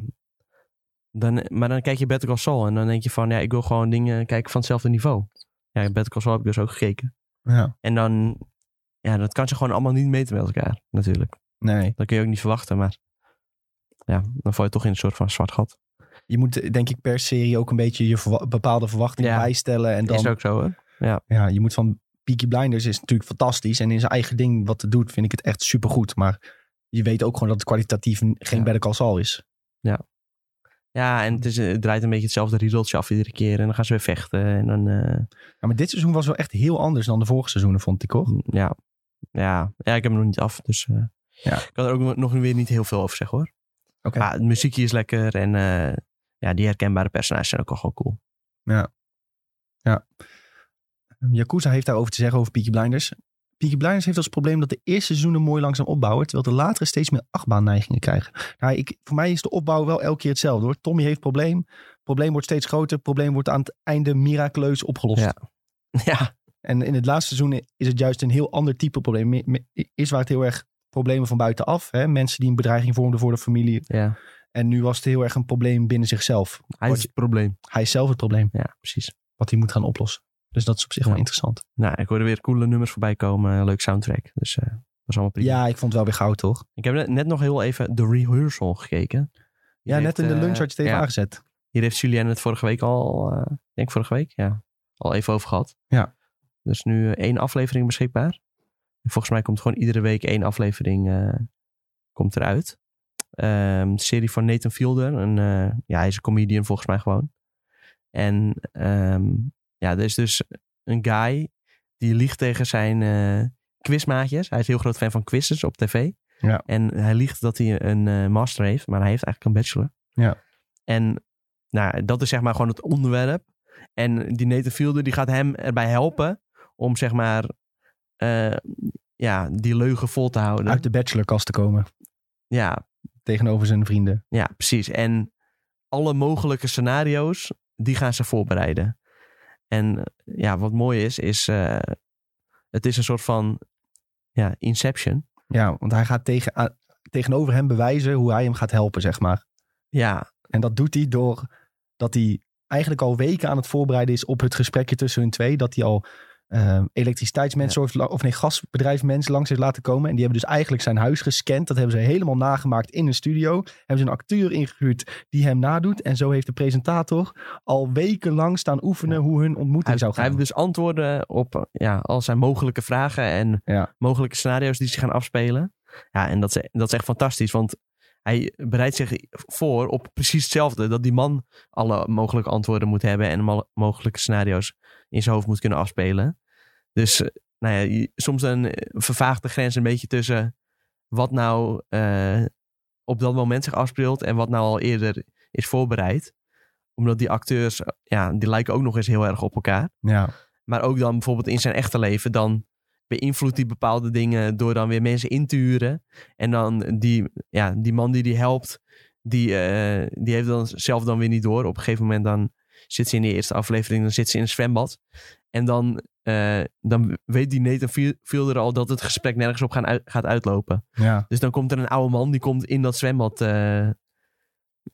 Dan, maar dan kijk je Better Call Saul en dan denk je van, ja, ik wil gewoon dingen kijken van hetzelfde niveau. Ja, Better Call Saul heb ik dus ook gekeken.
Ja.
En dan, ja, dat kan ze gewoon allemaal niet meten met elkaar, natuurlijk.
Nee.
Dat kun je ook niet verwachten, maar ja, dan val je toch in een soort van zwart gat.
Je moet eh, denk ik per serie ook een beetje je verwa- bepaalde verwachtingen
Ja.
bijstellen. En
Dat is
dan,
ook zo, hè?
ja, je moet van Peaky Blinders is natuurlijk fantastisch. En in zijn eigen ding wat het doet, vind ik het echt supergoed. Maar je weet ook gewoon dat het kwalitatief n- geen
Ja.
Better Call Saul is.
Ja, en het, is, eh, het draait een beetje hetzelfde riedeltje af iedere keer. En dan gaan ze weer vechten. En dan, eh,
Ja, maar dit seizoen was wel echt heel anders dan de vorige seizoenen, vond ik hoor.
mm, ja. Ja. ja, ik heb hem nog niet af. Dus eh,
Ja.
ik kan er ook nog- nog weer niet heel veel over zeggen, hoor.
Oké.
Maar het muziekje is lekker. En eh, ja, die herkenbare personages zijn ook al gewoon cool.
Ehm, Yakuza heeft daarover te zeggen over Peaky Blinders. Peaky Blinders heeft als probleem dat de eerste seizoenen mooi langzaam opbouwen, terwijl de latere steeds meer achtbaanneigingen krijgen. Nou, ik, voor mij is de opbouw wel elke keer hetzelfde hoor. Tommy heeft probleem, probleem wordt steeds groter, probleem wordt aan het einde miraculeus opgelost.
Ja. ja,
En in het laatste seizoen is het juist een heel ander type probleem. Me- me- Is waar het heel erg problemen van buitenaf, hè? mensen die een bedreiging vormden voor de familie.
ja.
En nu was het heel erg een probleem binnen zichzelf.
Hij
Wat
is het probleem.
Hij is zelf het probleem
Ja, precies.
wat hij moet gaan oplossen. Dus dat is op zich wel
Ja.
interessant.
Nou, ik hoorde weer coole nummers voorbij komen. Leuk soundtrack. Dus eh dat was allemaal prima.
Ja, ik vond het wel weer goud, toch?
Ik heb net- net nog heel even de rehearsal gekeken.
Ja,
Heeft,
net in de
eh,
lunch had je het even
ja.
aangezet.
Hier heeft Julien het vorige week al, eh, ik denk vorige week, ja, al even over gehad.
Ja.
Er is nu eh, één aflevering beschikbaar. En volgens mij komt gewoon iedere week één aflevering eh, komt eruit. Ehm serie van Nathan Fielder. Een, eh, ja, hij is een comedian volgens mij gewoon. En ehm, ja, er is dus een guy die liegt tegen zijn eh, quizmaatjes. Hij is heel groot fan van quizzes op tv.
Ja.
En hij liegt dat hij een eh, master heeft, maar hij heeft eigenlijk een bachelor.
Ja.
En nou, dat is zeg maar gewoon het onderwerp. En die Nathan Fielder die gaat hem erbij helpen om zeg maar eh, ja, die leugen vol te houden.
Uit de bachelorkast te komen.
Ja,
Tegenover zijn vrienden.
ja, precies. En alle mogelijke scenario's, die gaan ze voorbereiden. En eh, ja, wat mooi is, is eh, het is een soort van ja, inception.
Ja, want hij gaat tegen, a- tegenover hem bewijzen hoe hij hem gaat helpen, zeg maar.
Ja,
En dat doet hij door dat hij eigenlijk al weken aan het voorbereiden is op het gesprekje tussen hun twee. Dat hij al eh, elektriciteitsmensen of, la- of nee, gasbedrijfmensen langs heeft laten komen. En die hebben dus eigenlijk zijn huis gescand. Dat hebben ze helemaal nagemaakt in een studio. Hebben ze een acteur ingehuurd die hem nadoet. En zo heeft de presentator al wekenlang staan oefenen hoe hun ontmoeting
hij,
zou
hij
gaan.
heeft dus antwoorden op eh, ja, al zijn mogelijke vragen en
Ja.
mogelijke scenario's die zich gaan afspelen. Ja, en dat is, dat is echt fantastisch, want hij bereidt zich voor op precies hetzelfde. Dat die man alle mogelijke antwoorden moet hebben en mo- mogelijke scenario's in zijn hoofd moet kunnen afspelen. Dus eh, nou ja, je- soms dan eh, vervaagt de grens een beetje tussen wat nou eh, op dat moment zich afspeelt en wat nou al eerder is voorbereid. Omdat die acteurs, eh, ja, die lijken ook nog eens heel erg op elkaar.
ja.
Maar ook dan bijvoorbeeld in zijn echte leven, dan beïnvloedt hij bepaalde dingen door dan weer mensen in te huren. En dan die, ja, die man die die helpt, die, eh, die heeft dan zelf dan weer niet door. Op een gegeven moment dan zit ze in de eerste aflevering, dan zit ze in een zwembad. En dan, eh, dan weet die Nathan Fiel- Fielder al dat het gesprek nergens op gaan uit- gaat uitlopen.
ja.
Dus dan komt er een oude man die komt in dat zwembad. eh,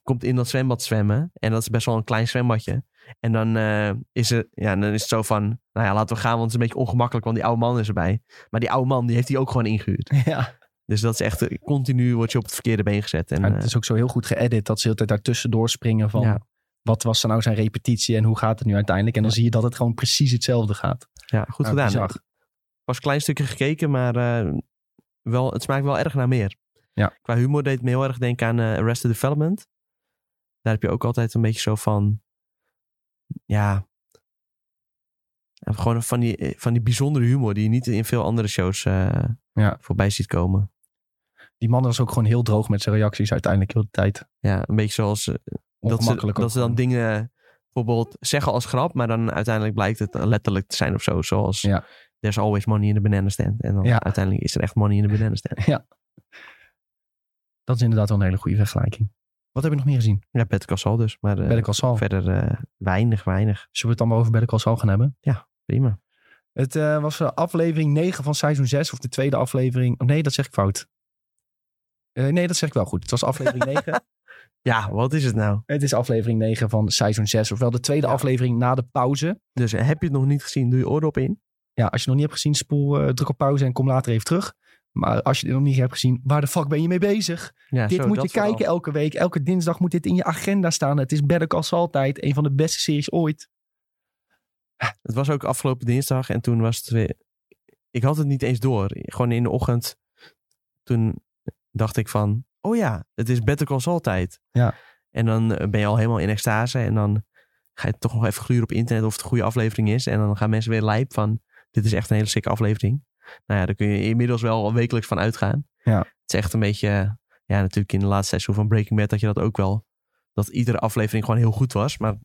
komt in dat zwembad zwemmen. En dat is best wel een klein zwembadje. En dan, eh, is, het, ja, dan is het zo van. Nou ja, laten we gaan, want het is een beetje ongemakkelijk, want die oude man is erbij. Maar die oude man, die heeft hij ook gewoon ingehuurd.
Ja,
Dus dat is echt. eh, Continu word je op het verkeerde been gezet. En,
en
eh,
het is ook zo heel goed geëdit dat ze altijd daartussendoor springen van
Ja.
wat was nou zijn repetitie en hoe gaat het nu uiteindelijk? En dan zie je dat het gewoon precies hetzelfde gaat.
ja, goed
Nou,
gedaan.
bizar.
Pas een klein stukje gekeken, maar eh, wel, het smaakt wel erg naar meer.
Ja.
Qua humor deed het me heel erg denken aan eh, Arrested Development. Daar heb je ook altijd een beetje zo van... Ja... Gewoon van die, eh, van die bijzondere humor die je niet in veel andere shows eh,
Ja.
voorbij ziet komen.
Die man was ook gewoon heel droog met zijn reacties uiteindelijk heel de tijd.
Ja, een beetje zoals eh, dat ze,
Ongemakkelijk
dat ze dan
ook.
dingen bijvoorbeeld zeggen als grap, maar dan uiteindelijk blijkt het letterlijk te zijn of zo. Zoals
Ja.
there's always money in the banana stand. En dan
Ja.
uiteindelijk is er echt money in the banana stand.
Dat is inderdaad wel een hele goede vergelijking. Wat heb je nog meer gezien?
Ja, Better Call Saul dus. Maar eh,
Better Call Saul.
verder eh, weinig, weinig.
Zullen we het dan maar over Better Call Saul gaan hebben?
Prima.
Het eh, was eh, aflevering 9 van seizoen 6 of de tweede aflevering. Oh nee, dat zeg ik fout. Eh, nee, dat zeg ik wel goed. Het was aflevering 9.
Ja, wat is het nou?
Het is aflevering 9 van seizoen 6. Ofwel de tweede
Ja.
aflevering na de pauze.
Dus eh, heb je het nog niet gezien, doe je oordop in.
Ja, als je nog niet hebt gezien, spoel, eh, druk op pauze en kom later even terug. Maar als je dit nog niet hebt gezien, waar de fuck ben je mee bezig?
Ja,
dit
zo,
moet
dat
je
vooral.
kijken elke week. Elke dinsdag moet dit in je agenda staan. Het is Better Call Saul tijd. Een van de beste series ooit.
Het was ook afgelopen dinsdag en toen was het weer... Ik had het niet eens door. Gewoon in de ochtend, toen dacht ik van... Oh ja, het is Better Call Saul tijd.
Ja.
En dan eh, ben je al helemaal in extase en dan ga je toch nog even gluren op internet of het een goede aflevering is. En dan gaan mensen weer lijp van, dit is echt een hele sikke aflevering. Nou ja, daar kun je inmiddels wel wekelijks van uitgaan.
Ja.
Het is echt een beetje, eh, ja natuurlijk in de laatste seizoen van Breaking Bad dat je dat ook wel... Dat iedere aflevering gewoon heel goed was, maar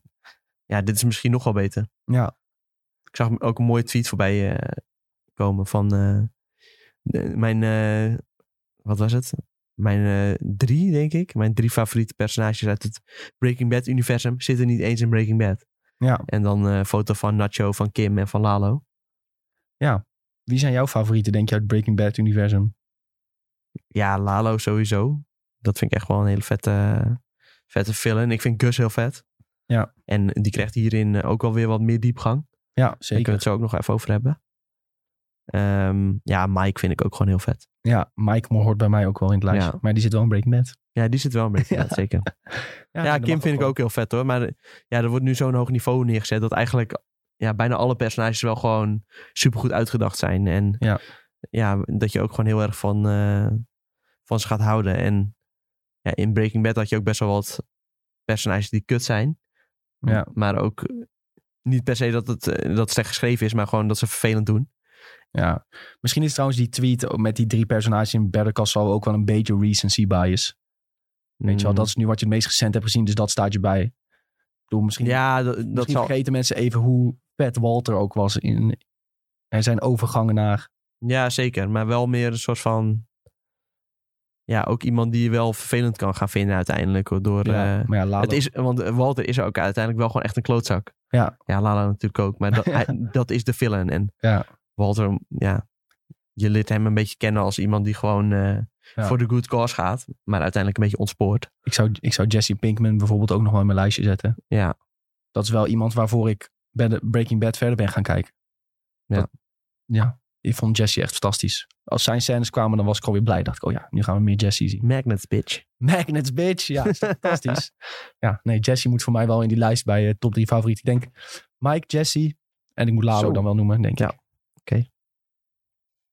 ja, dit is misschien nog wel beter.
Ja,
Ik zag ook een mooie tweet voorbij eh, komen van eh, de- mijn, eh, wat was het? Mijn eh, drie, denk ik. Mijn drie favoriete personages uit het Breaking Bad universum zitten niet eens in Breaking Bad.
ja.
En dan eh, een foto van Nacho, van Kim en van Lalo.
Wie zijn jouw favorieten, denk je, uit Breaking Bad universum?
Ja, Lalo sowieso. Dat vind ik echt wel een hele vette, vette villain. Ik vind Gus heel vet.
Ja.
En die krijgt hierin eh, ook alweer wat meer diepgang.
Ja,
Daar kunnen we
zeker.
het zo ook nog even over hebben. Ehm, ja, Mike vind ik ook gewoon heel vet.
Ja, Mike Moore hoort bij mij ook wel in het lijstje.
Ja.
Maar die zit wel in Breaking Bad.
Ja, die zit wel een beetje, ja. zeker.
dat
Ja,
mag
Kim vind ik
wel.
ook heel vet hoor. Maar eh, ja, er wordt nu zo'n hoog niveau neergezet dat eigenlijk ja, bijna alle personages wel gewoon supergoed uitgedacht zijn. En
Ja.
ja, dat je ook gewoon heel erg van, eh, van ze gaat houden. En ja, in Breaking Bad had je ook best wel wat personages die kut zijn.
Ja.
Maar ook eh, niet per se dat het, eh, dat het slecht geschreven is, maar gewoon dat ze vervelend doen.
Ja. Misschien is trouwens die tweet ook met die drie personages in Better Call Saul ook wel een beetje recency bias. Weet je wel,
Mm.
dat is nu wat je het meest recent hebt gezien, dus dat staat je bij. Ik bedoel, misschien,
ja, dat, dat
misschien
zal,
vergeten mensen even hoe vet Walter ook was in er zijn overgangen naar.
Ja, zeker. Maar wel meer een soort van. Ja, ook iemand die je wel vervelend kan gaan vinden uiteindelijk. hoor, Door,
Ja,
eh,
maar ja, Lalo-
het is, want Walter is ook uiteindelijk wel gewoon echt een klootzak.
Ja.
Ja, Lala natuurlijk ook. Maar dat,
Ja.
hij- dat is de villain. En
Ja.
Walter, ja. Je leert hem een beetje kennen als iemand die gewoon eh,
Ja.
voor de good cause gaat. Maar uiteindelijk een beetje ontspoort.
ik, zou, ik zou Jesse Pinkman bijvoorbeeld ook nog wel in mijn lijstje zetten.
Ja.
Dat is wel iemand waarvoor ik bij de Breaking Bad verder ben gaan kijken.
Ja.
Dat- ja. Ik vond Jesse echt fantastisch. Als zijn scènes kwamen, dan was ik alweer blij. Dacht ik, oh ja, nu gaan we meer Jesse zien.
Magnets, bitch.
Magnets, bitch. Ja, is toch fantastisch. ja, nee, Jesse moet voor mij wel in die lijst bij eh, top drie favorieten. Ik denk Mike, Jesse en ik moet Lalo
Zo.
dan wel noemen, denk
Ja,
ik.
oké.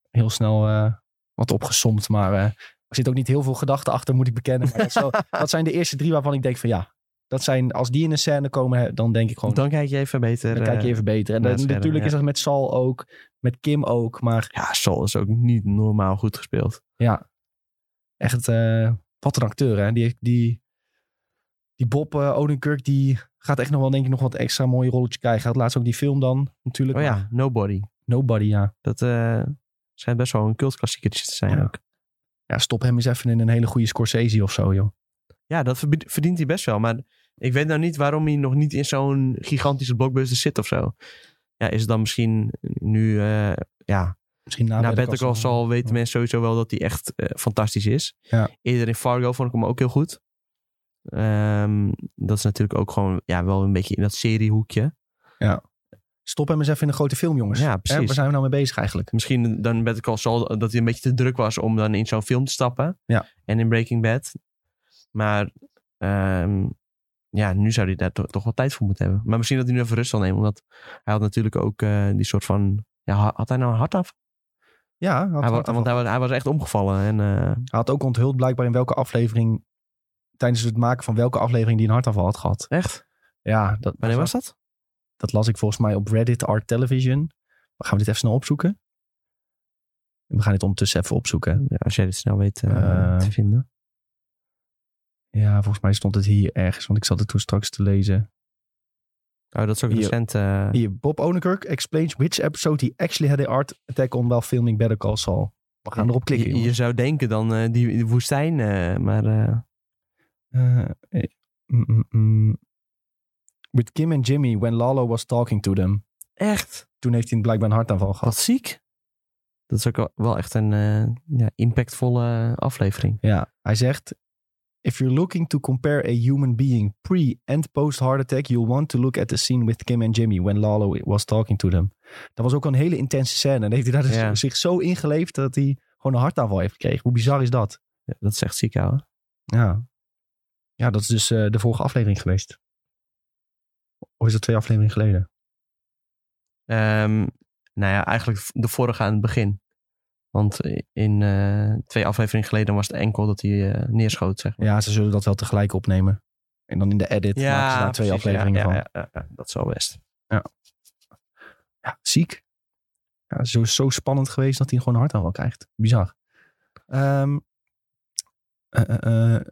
Heel snel eh, wat opgesomd, maar eh, er zit ook niet heel veel gedachten achter, moet ik bekennen. Maar dat, is wel- dat zijn de eerste drie waarvan ik denk van ja, dat zijn, als die in een scène komen, hè, dan denk ik gewoon, dan,
Dan kijk je even beter.
kijk je
eh,
even beter. En
naar
dan-
het scherm,
natuurlijk
ja.
is dat met Sal ook, met Kim ook, maar
Ja, Sol is ook niet normaal goed gespeeld.
Echt, eh, wat een acteur, hè? Die, die, die Bob eh, Odenkirk, die gaat echt nog wel, denk ik, nog wat extra mooie rolletje krijgen. Hij had laatst ook die film dan, natuurlijk.
Oh
maar
ja, Nobody.
Nobody, ja.
Dat eh, schijnt best wel een cultklassiekertje te zijn
Ja.
ook.
Ja, stop hem eens even in een hele goede Scorsese of zo, joh.
Ja, dat verbi- verdient hij best wel. Maar ik weet nou niet waarom hij nog niet in zo'n gigantische blockbuster zit of zo. Ja, is het dan misschien nu... eh, ja,
Misschien na,
na Better Call Saul weten
Ja.
mensen sowieso wel dat hij echt eh, fantastisch is.
Ja.
Eerder in Fargo vond ik hem ook heel goed. Ehm, dat is natuurlijk ook gewoon ja, wel een beetje in dat seriehoekje.
Stop hem eens even in een grote film, jongens.
Ja,
Hè,
precies.
Waar zijn we nou mee bezig eigenlijk?
Misschien dan Better Call Saul eh, dat hij een beetje te druk was om dan in zo'n film te stappen.
Ja.
En in Breaking Bad. Maar ehm, ja, nu zou hij daar toch, toch wel tijd voor moeten hebben. Maar misschien dat hij nu even rust zal nemen. Omdat hij had natuurlijk ook eh, die soort van... Ja, ha- had hij nou een hartaf?
Ja, had,
Hij wa-
had-
want hij, wa- hij was echt omgevallen. En, eh,
hij had ook onthuld blijkbaar in welke aflevering, tijdens het maken van welke aflevering die een hartaanval had gehad.
echt?
Ja, dat,
Wanneer was dat?
Dat las ik volgens mij op Reddit Art Television. Maar gaan we dit even snel opzoeken? We gaan dit ondertussen even opzoeken.
Ja, als jij dit snel weet eh,
Eh.
te vinden.
Ja, volgens mij stond het hier ergens, want ik zat het toen straks te lezen.
Oh, dat is ook
Hier.
recent. eh,
Hier, Bob Odenkirk explains which episode he actually had a art attack on while filming Better Call Saul. We gaan erop klikken.
je, je
jongens.
zou denken dan eh, die, die woestijn. eh, maar eh,
Eh, eh, mm, mm, mm. With Kim and Jimmy when Lalo was talking to them.
echt,
Toen heeft hij blijkbaar een hartaanval gehad.
wat ziek. Dat is ook wel- wel echt een eh, ja, impactvolle aflevering.
Ja, hij zegt... If you're looking to compare a human being pre- and post-heart attack... you'll want to look at the scene with Kim and Jimmy... when Lalo was talking to them. Dat was ook een hele intense scène. En dan heeft hij daar dus
Ja.
zich zo ingeleefd... dat hij gewoon een hartaanval heeft gekregen. Hoe bizar is dat?
Ja, dat is echt ziek, ouwe.
Ja. Ja, dat is dus eh, de vorige aflevering geweest. Of is dat twee afleveringen geleden?
Ehm, nou ja, eigenlijk de vorige aan het begin. Want in eh, twee afleveringen geleden was het enkel dat hij eh, neerschoot, zeg maar.
Ja, ze zullen dat wel tegelijk opnemen. En dan in de edit maken ze daar twee
precies,
afleveringen
ja,
van.
ja, ja, ja, dat is al best.
Ja, ziek. Ja, zo, zo spannend geweest dat hij gewoon een hartaanval krijgt. Bizar. Ehm, eh, eh, eh.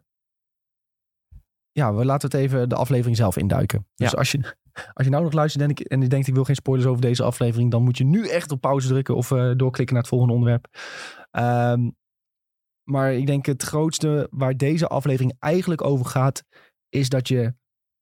ja, we laten we het even de aflevering zelf induiken. Dus
Ja.
als, je, als je nou nog luistert en, ik, en je denkt ik wil geen spoilers over deze aflevering, dan moet je nu echt op pauze drukken of eh, doorklikken naar het volgende onderwerp. Ehm, maar ik denk het grootste waar deze aflevering eigenlijk over gaat, is dat je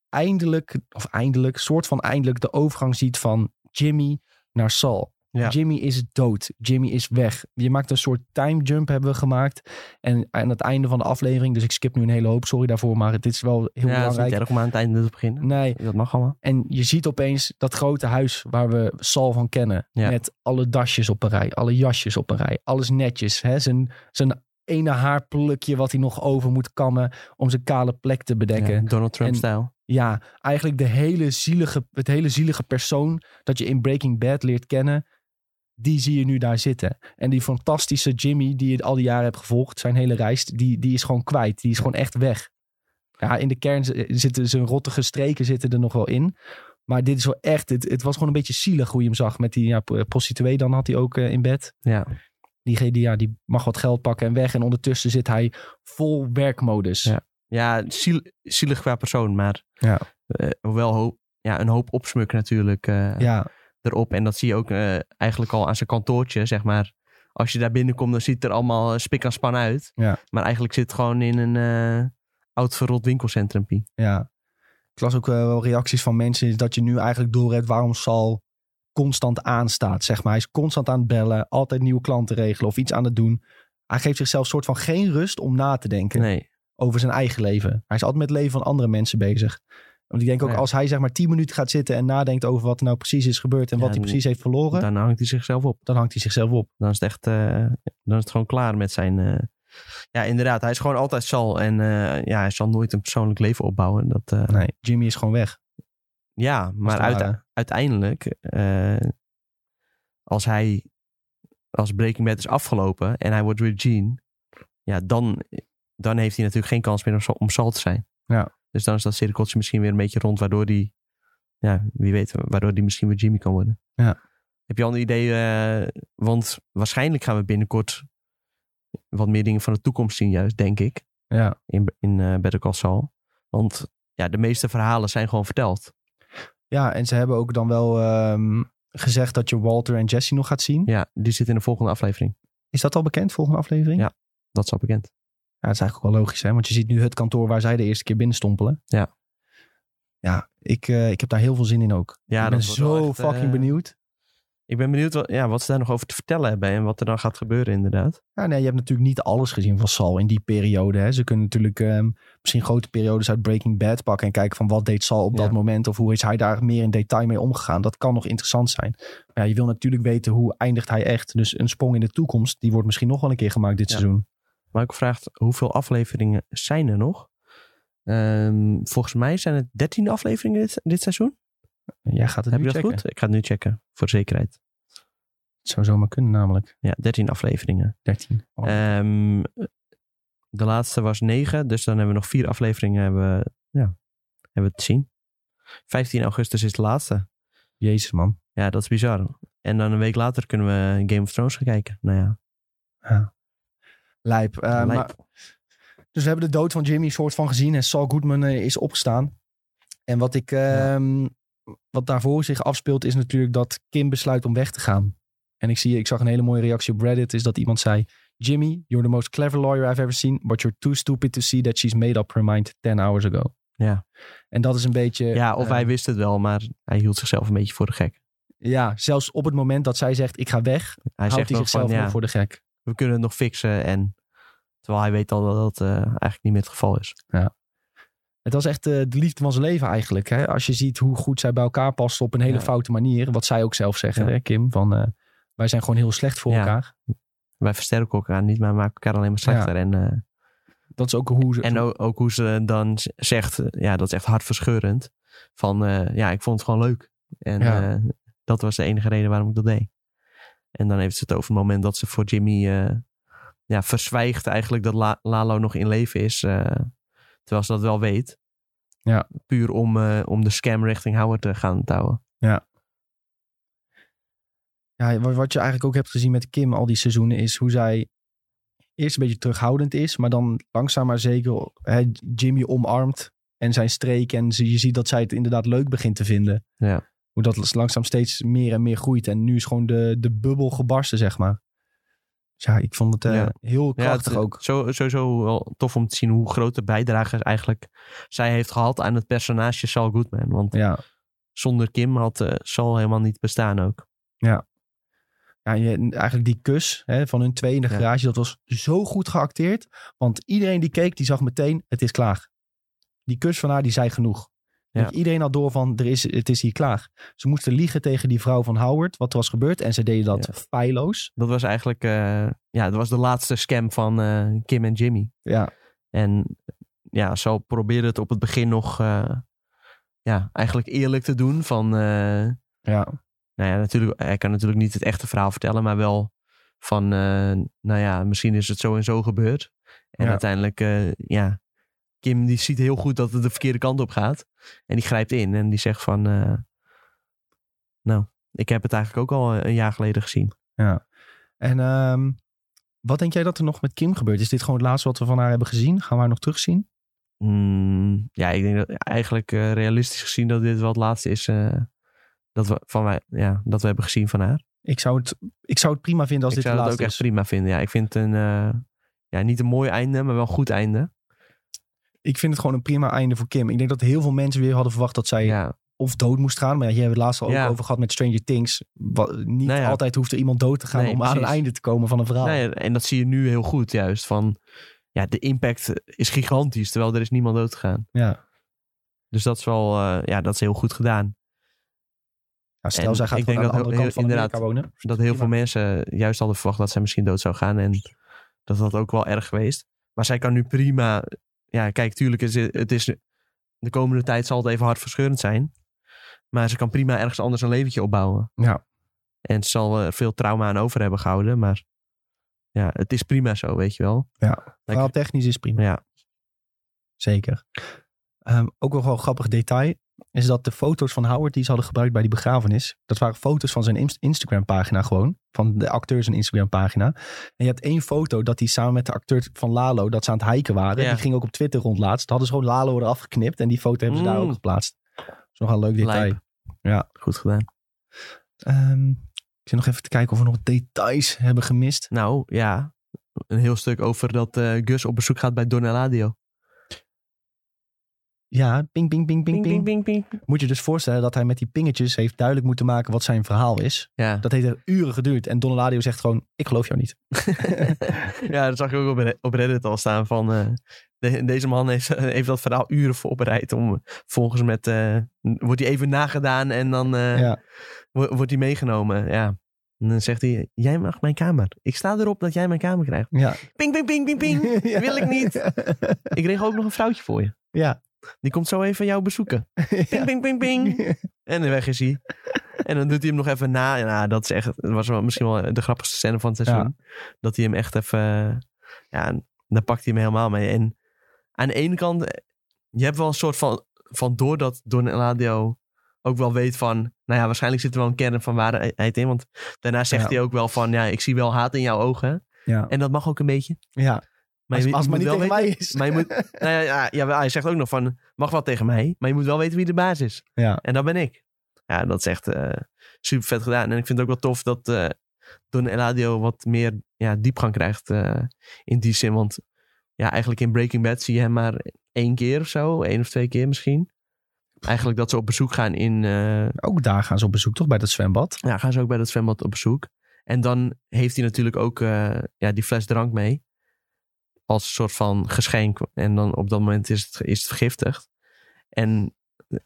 eindelijk, of eindelijk, soort van eindelijk de overgang ziet van Jimmy naar Sal.
Ja.
Jimmy is dood. Jimmy is weg. Je maakt een soort time jump hebben we gemaakt. En aan het einde van de aflevering, dus ik skip nu een hele hoop, sorry daarvoor, maar dit is wel heel
ja, het is niet
belangrijk.
erg om aan het einde te beginnen.
Nee,
Dat mag allemaal.
en je ziet opeens dat grote huis waar we Sal van kennen.
Ja.
Met alle dasjes op een rij, alle jasjes op een rij, alles netjes. Hè? Zijn, zijn ene haarplukje wat hij nog over moet kammen om zijn kale plek te bedekken.
Ja, Donald
En-
Trump-stijl.
Ja, eigenlijk de hele zielige, het hele zielige persoon dat je in Breaking Bad leert kennen, die zie je nu daar zitten. En die fantastische Jimmy die je al die jaren hebt gevolgd, zijn hele reis, die, die is gewoon kwijt. Die is gewoon echt weg. Ja, in de kern z- zitten zijn rottige streken zitten er nog wel in. Maar dit is wel echt, het, het was gewoon een beetje zielig hoe je hem zag met die ja, p- prostituee. Dan had hij ook eh, in bed.
Ja.
Die, die, ja, die mag wat geld pakken en weg. En ondertussen zit hij vol werkmodus.
Ja. Ja, ziel, zielig qua persoon, maar
Ja.
eh, wel hoop, ja, een hoop opsmuk natuurlijk eh,
ja.
erop. En dat zie je ook eh, eigenlijk al aan zijn kantoortje, zeg maar. Als je daar binnenkomt, dan ziet het er allemaal eh, spik en span uit.
Ja.
Maar eigenlijk zit het gewoon in een eh, oud verrot winkelcentrumpie.
Ja. Ik las ook eh, wel reacties van mensen dat je nu eigenlijk doorhebt waarom Sal constant aanstaat. Zeg maar. Hij is constant aan het bellen, altijd nieuwe klanten regelen of iets aan het doen. Hij geeft zichzelf soort van geen rust om na te denken
Nee,
over zijn eigen leven. Hij is altijd met het leven van andere mensen bezig. Want ik denk ook
Ja.
als hij zeg maar 10 minuten gaat zitten en nadenkt over wat er nou precies is gebeurd en
Ja,
wat hij
dan-
precies heeft verloren, dan,
daarna hangt hij zichzelf op.
hangt hij zichzelf op.
Dan is het echt, eh, dan is het gewoon klaar met zijn... eh, ja, inderdaad. Hij is gewoon altijd Sal. En eh, ja, hij zal nooit een persoonlijk leven opbouwen. Dat, eh,
Nee, Jimmy is gewoon weg.
Ja, maar
het
uite-
ware.
uiteindelijk, eh, als hij, als Breaking Bad is afgelopen en hij wordt weer Gene, ja, dan, dan heeft hij natuurlijk geen kans meer om, Sal- om Sal te zijn.
Ja.
Dus dan is dat cirkeltje misschien weer een beetje rond, waardoor die, ja, wie weet, waardoor die misschien weer Jimmy kan worden.
Ja.
Heb je al een idee, eh, want waarschijnlijk gaan we binnenkort wat meer dingen van de toekomst zien juist, denk ik
Ja.
in, in eh Better Call Saul. Want ja, de meeste verhalen zijn gewoon verteld.
ja, en ze hebben ook dan wel ehm, gezegd dat je Walter en Jesse nog gaat zien.
Ja, die zitten in de volgende aflevering.
Is dat al bekend, volgende aflevering?
Ja. Dat is al bekend.
Ja, dat is eigenlijk ook wel logisch, hè? Want je ziet nu het kantoor waar zij de eerste keer binnenstompelen.
Ja.
Ja, ik, eh, ik heb daar heel veel zin in ook.
Ja,
ik ben
dat wordt wel
zo
echt,
fucking
eh,
benieuwd.
Ik ben benieuwd wat, ja, wat ze daar nog over te vertellen hebben en wat er dan gaat gebeuren inderdaad.
Ja, nee, je hebt natuurlijk niet alles gezien van Sal in die periode. Hè? Ze kunnen natuurlijk ehm, misschien grote periodes uit Breaking Bad pakken... en kijken van wat deed Sal op
Ja.
dat moment... of hoe is hij daar meer in detail mee omgegaan. Dat kan nog interessant zijn. Maar ja, je wil natuurlijk weten hoe eindigt hij echt. Dus een sprong in de toekomst, die wordt misschien nog wel een keer gemaakt dit
Ja.
seizoen.
Maar ik vraag hoeveel afleveringen zijn er nog? Ehm, volgens mij zijn het 13 afleveringen dit, dit seizoen.
Jij gaat het
Heb
nu
je dat
checken.
goed? Ik ga het nu checken, voor de zekerheid.
Het zou zomaar kunnen namelijk.
Ja, 13 afleveringen.
13. Oh.
Ehm, de laatste was 9, dus dan hebben we nog vier afleveringen hebben, we- ja, hebben we te zien. 15 augustus is de laatste.
Jezus, man.
Ja, dat is bizar. En dan een week later kunnen we Game of Thrones gaan kijken. Nou ja,
Lijp. Eh,
lijp.
maar- Dus we hebben de dood van Jimmy soort van gezien. En Saul Goodman eh, is opgestaan. En wat, ik, ehm, wat daarvoor zich afspeelt is natuurlijk dat Kim besluit om weg te gaan. En ik, zie, ik zag een hele mooie reactie op Reddit. Is dat iemand zei... Jimmy, you're the most clever lawyer I've ever seen. But you're too stupid to see that she's made up her mind 10 hours ago.
Ja.
En dat is een beetje...
ja, of
eh,
hij wist het wel, maar hij hield zichzelf een beetje voor de gek.
Ja, zelfs op het moment dat zij zegt ik ga weg,
Hij
houdt
zegt
hij
ook
zichzelf
van,
nog
ja,
voor de gek.
we kunnen het nog fixen. En, terwijl hij weet al dat dat eh, eigenlijk niet meer het geval is.
Het was echt eh, de liefde van zijn leven eigenlijk. Hè? Als je ziet hoe goed zij bij elkaar past op een hele
Ja.
foute manier. Wat zij ook zelf zeggen,
Ja.
hè, Kim. Van, eh, wij zijn gewoon heel slecht voor
Ja.
elkaar.
Wij versterken elkaar niet, maar maken elkaar alleen maar slechter. En, eh,
Dat is ook hoe ze...
en ook, ook hoe ze dan z- zegt, eh, ja, dat is echt hartverscheurend. Van, eh, ja, ik vond het gewoon leuk. En
Ja.
eh, dat was de enige reden waarom ik dat deed. En dan heeft ze het over het moment dat ze voor Jimmy eh, ja, verzwijgt eigenlijk dat La- Lalo nog in leven is. eh, terwijl ze dat wel weet.
Ja.
Puur om, eh, om de scam richting Howard te gaan touwen.
Ja, wa- wat je eigenlijk ook hebt gezien met Kim al die seizoenen is hoe zij eerst een beetje terughoudend is, maar dan langzaam maar zeker hè, Jimmy omarmt en zijn streek. En ze- je ziet dat zij het inderdaad leuk begint te vinden.
Ja.
Hoe dat langzaam steeds meer en meer groeit. En nu is gewoon de, de bubbel gebarsten, zeg maar. Dus ja, ik vond het eh,
Ja.
heel
Ja,
krachtig
het-
ook.
Zo, sowieso wel tof om te zien hoe grote bijdrage eigenlijk zij heeft gehad aan het personage Saul Goodman. Want
Ja.
zonder Kim had eh, Sal helemaal niet bestaan ook.
Ja, en je- en eigenlijk die kus hè, van hun twee in de
Ja.
garage, dat was zo goed geacteerd. Want iedereen die keek, die zag meteen, het is klaar. Die kus van haar, die zei genoeg.
Ja.
Want Iedereen had door van, er is, het is hier klaar. Ze moesten liegen tegen die vrouw van Howard, wat er was gebeurd. En ze deden dat feilloos.
Dat was eigenlijk eh, ja, dat was de laatste scam van eh, Kim en Jimmy.
Ja,
En ja, Sal probeerde het op het begin nog eh, ja, eigenlijk eerlijk te doen. Van, eh,
ja,
nou ja, natuurlijk, hij kan natuurlijk niet het echte verhaal vertellen, maar wel van, eh, nou ja, misschien is het zo en zo gebeurd. En
Ja.
uiteindelijk, eh, ja, Kim die ziet heel goed dat het de verkeerde kant op gaat. En die grijpt in en die zegt van, eh, nou, ik heb het eigenlijk ook al eh, een jaar geleden gezien.
ja. En ehm, wat denk jij dat er nog met Kim gebeurt? Is dit gewoon het laatste wat we van haar hebben gezien? Gaan we haar nog terugzien?
Mm, ja, ik denk dat eigenlijk eh, realistisch gezien dat dit wel het laatste is eh, dat, we, van wij, ja, dat we hebben gezien van haar.
Ik zou het, ik zou het prima vinden als
ik
dit
zou
de
dat ook
laatste
echt
is.
prima vinden. Ja, ik vind een, eh, ja, niet een mooi einde, maar wel een goed einde.
Ik vind het gewoon een prima einde voor Kim. Ik denk dat heel veel mensen weer hadden verwacht dat zij
Ja,
of dood moest gaan. Maar ja, jij hebt het laatst al
Ja.
ook over gehad met Stranger Things. Wat, niet
Nou ja.
altijd hoeft er iemand dood te gaan
Nee,
om aan een
precies.
einde te komen van een verhaal.
Nou ja, en dat zie je nu heel goed juist. Van, ja, de impact is gigantisch, terwijl er is niemand dood gegaan.
Ja.
Dus dat is wel, eh, ja, dat is heel goed gedaan.
Ja, stel,
En
zij gaat
ik
gewoon
denk
aan de
dat
andere kant
heel-
van
inderdaad,
Amerika wonen.
Dat heel
Prima.
veel mensen juist hadden verwacht dat zij misschien dood zou gaan. En dat had ook wel erg geweest. Maar zij kan nu prima. Ja, kijk, tuurlijk is het, het is. De komende tijd zal het even hartverscheurend zijn. Maar ze kan prima ergens anders een leventje opbouwen.
Ja.
En ze zal er veel trauma aan over hebben gehouden. Maar ja, het is prima zo, weet je wel.
Verhaal technisch is prima.
Ja.
Zeker. Ehm, ook nog wel een grappig detail is dat de foto's van Howard die ze hadden gebruikt bij die begrafenis, dat waren foto's van zijn Inst- Instagram-pagina gewoon, van de acteur zijn Instagram-pagina. En je hebt één foto dat hij samen met de acteur van Lalo, dat ze aan het hiken waren.
Ja.
Die ging ook op Twitter rond laatst. Dat hadden ze gewoon Lalo eraf geknipt en die foto hebben ze daar
Mm.
ook geplaatst. Dat is nogal een leuk detail.
Lijp.
Ja.
Goed gedaan.
Ehm, ik zit nog even te kijken of we nog details hebben gemist.
Nou, ja. Een heel stuk over dat eh, Gus op bezoek gaat bij Donaladio.
Ja, ping, ping, ping, ping, ping.
ping, ping.
Moet je dus voorstellen dat hij met die pingetjes heeft duidelijk moeten maken wat zijn verhaal is.
Ja.
Dat heeft er uren geduurd. En Donaladio zegt gewoon, ik geloof jou niet.
ja, dat zag ik ook op Re- op Reddit al staan van... eh, de- deze man heeft, heeft dat verhaal uren voorbereid om volgens met... eh, wordt hij even nagedaan en dan eh,
Ja.
wo- wordt hij meegenomen, ja. En dan zegt hij, jij mag mijn kamer. Ik sta erop dat jij mijn kamer krijgt.
Ja.
Ping, ping, ping, ping, ping.
Ja.
Wil ik niet. Ik kreeg ook nog een vrouwtje voor je.
Ja.
Die komt zo even jou bezoeken. Ping, ping, ping, ping. En weg is hij. En dan doet hij hem nog even na. Ja, nou, dat is echt, dat was wel, misschien wel de grappigste scène van het seizoen. Dat hij hem echt even, eh, ja, daar pakt hij hem helemaal mee. En aan de ene kant, eh, je hebt wel een soort van, van door dat Doneladio ook wel weet van, nou ja, waarschijnlijk zit er wel een kern van waarheid in. Want daarna zegt
Ja.
hij ook wel van, ja, ik zie wel haat in jouw ogen.
Ja.
En dat mag ook een beetje.
ja.
Maar
Als,
je-
als
je
het maar niet
moet wel
tegen
weten-
mij is.
maar je moet, nou ja, ja, ja, hij zegt ook nog van, mag wel tegen mij, maar je moet wel weten wie de baas is.
Ja.
En dat ben ik. Ja, dat is echt eh, super vet gedaan. En ik vind het ook wel tof dat eh Don Eladio wat meer ja, diepgang krijgt eh, in die zin. Want ja, eigenlijk in Breaking Bad zie je hem maar één keer of zo. één of twee keer misschien. Eigenlijk dat ze op bezoek gaan in... eh,
Ook daar gaan ze op bezoek, toch? Bij dat zwembad.
ja, gaan ze ook bij dat zwembad op bezoek. En dan heeft hij natuurlijk ook eh, ja, die fles drank mee. Als soort van geschenk. En dan op dat moment is het, is het vergiftigd. En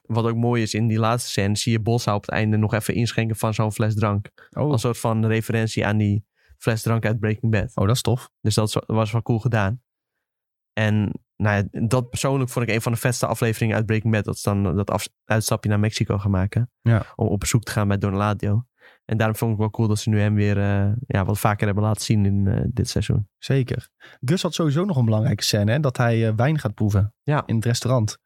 wat ook mooi is, in die laatste scène zie je Bossa op het einde nog even inschenken van zo'n fles drank.
Oh,
Als soort van referentie aan die fles drank uit Breaking Bad.
oh dat is tof.
Dus dat zo- was wel cool gedaan. En nou ja, dat persoonlijk vond ik een van de vetste afleveringen uit Breaking Bad. Dat ze dan dat af- uitstapje naar Mexico gaan maken.
Ja.
Om op bezoek te gaan bij Donaladio. En daarom vond ik wel cool dat ze nu hem weer eh, ja, wat vaker hebben laten zien in eh, dit seizoen.
Zeker. Gus had sowieso nog een belangrijke scène, hè, dat hij eh, wijn gaat proeven
Ja.
in het restaurant.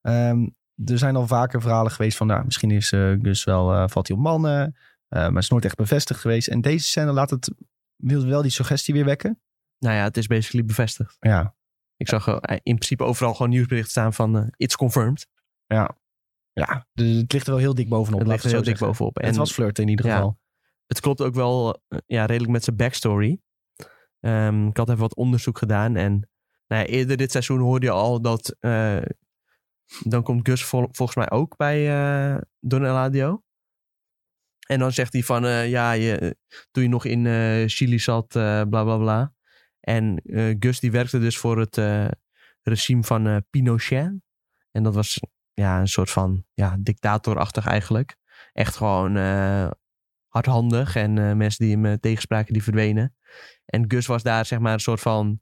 Ehm, er zijn al vaker verhalen geweest van, nou, misschien is eh, Gus wel, eh, valt hij op mannen, eh, maar is nooit echt bevestigd geweest. En deze scène laat het, wil wel die suggestie weer wekken.
Nou ja, het is basically bevestigd.
Ja,
Ik zag eh, in principe overal gewoon nieuwsberichten staan van eh, it's confirmed.
ja dus het ligt er wel heel dik bovenop.
het
laten
ligt er
we
heel
het zo
dik
zeggen.
bovenop. En
Het was flirten in ieder
Ja.
geval.
het klopt ook wel eh, ja, redelijk met zijn backstory. Ehm, ik had even wat onderzoek gedaan. En nou ja, eerder dit seizoen hoorde je al dat. eh, dan komt Gus vol- volgens mij ook bij eh Don Eladio. En dan zegt hij van. eh, ja, je, toen je nog in eh, Chili zat, eh, bla bla bla. En eh, Gus die werkte dus voor het eh, regime van eh, Pinochet. En dat was ja, een soort van ja, dictatorachtig eigenlijk. Echt gewoon eh, hardhandig. En eh, mensen die hem eh, tegenspraken, die verdwenen. En Gus was daar zeg maar een soort van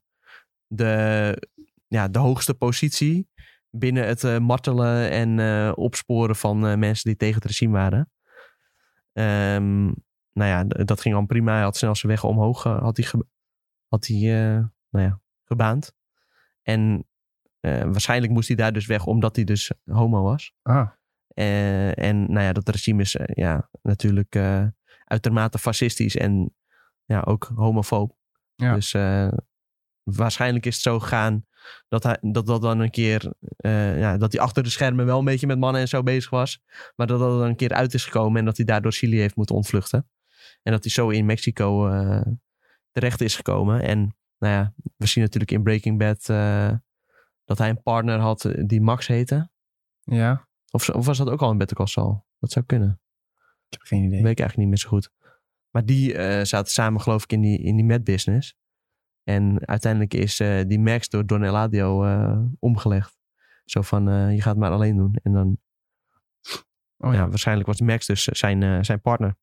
de, ja, de hoogste positie binnen het eh, martelen en eh, opsporen van eh, mensen die tegen het regime waren. Ehm, nou ja, d- dat ging al prima. Hij had snel zijn weg omhoog, eh, had hij, ge- had hij eh, nou ja, gebaand. En eh, waarschijnlijk moest hij daar dus weg omdat hij dus homo was.
Ah,
Eh, en nou ja, dat regime is eh, ja, natuurlijk eh, uitermate fascistisch en ja, ook homofoob.
Ja.
Dus eh, waarschijnlijk is het zo gegaan dat hij, dat, dat dan een keer, eh, ja, dat hij achter de schermen wel een beetje met mannen en zo bezig was. Maar dat dat dan een keer uit is gekomen en dat hij daardoor Chili heeft moeten ontvluchten. En dat hij zo in Mexico eh, terecht is gekomen. En nou ja, we zien natuurlijk in Breaking Bad eh, dat hij een partner had eh, die Max heette.
ja.
Of, zo- of was dat ook al in Better Call Saul? Dat zou kunnen.
Ik heb geen
Dat
idee.
weet ik eigenlijk niet meer zo goed. Maar die eh, zaten samen geloof ik in die, in die mad business. En uiteindelijk is eh, die Max door Don Eladio eh, omgelegd. Zo van, eh, je gaat het maar alleen doen. En dan,
Oh
ja, waarschijnlijk was Max dus zijn, eh, zijn partner.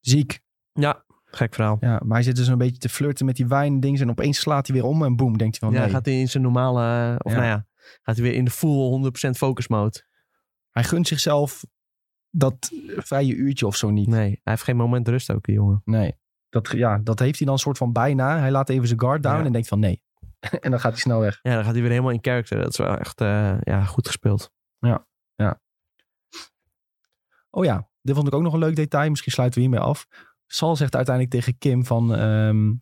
Ziek.
Ja, gek verhaal.
Ja, maar hij zit dus een beetje te flirten met die wijn dings en opeens slaat hij weer om en boem, denkt hij van Oh,
ja,
nee.
gaat hij in zijn normale, eh, of
Ja.
nou ja, gaat hij weer in de full 100% focus mode.
Hij gunt zichzelf dat vrije uurtje of zo niet.
Nee, hij heeft geen moment rust ook, die jongen.
Nee. Dat, ja, dat heeft hij dan soort van bijna. Hij laat even zijn guard down
Ja.
en denkt van nee. en dan gaat hij snel weg.
Ja, dan gaat hij weer helemaal in character. Dat is wel echt eh, ja, goed gespeeld.
Oh ja, dit vond ik ook nog een leuk detail. Misschien sluiten we hiermee af. Sal zegt uiteindelijk tegen Kim van... ehm,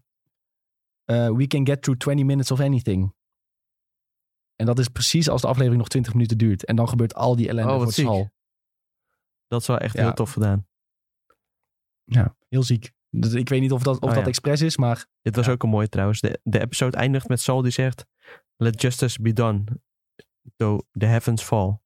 eh, we can get through 20 minutes of anything. En dat is precies als de aflevering nog 20 minuten duurt. En dan gebeurt al die ellende
Oh, wat
voor
ziek.
Sal.
Dat is wel echt
Ja.
heel tof gedaan.
Heel ziek. Dus ik weet niet of dat, of
Oh,
dat
ja.
expres is, maar
Dit was ook een mooie trouwens. De, de episode eindigt met Saul die zegt... Let justice be done, though the heavens fall.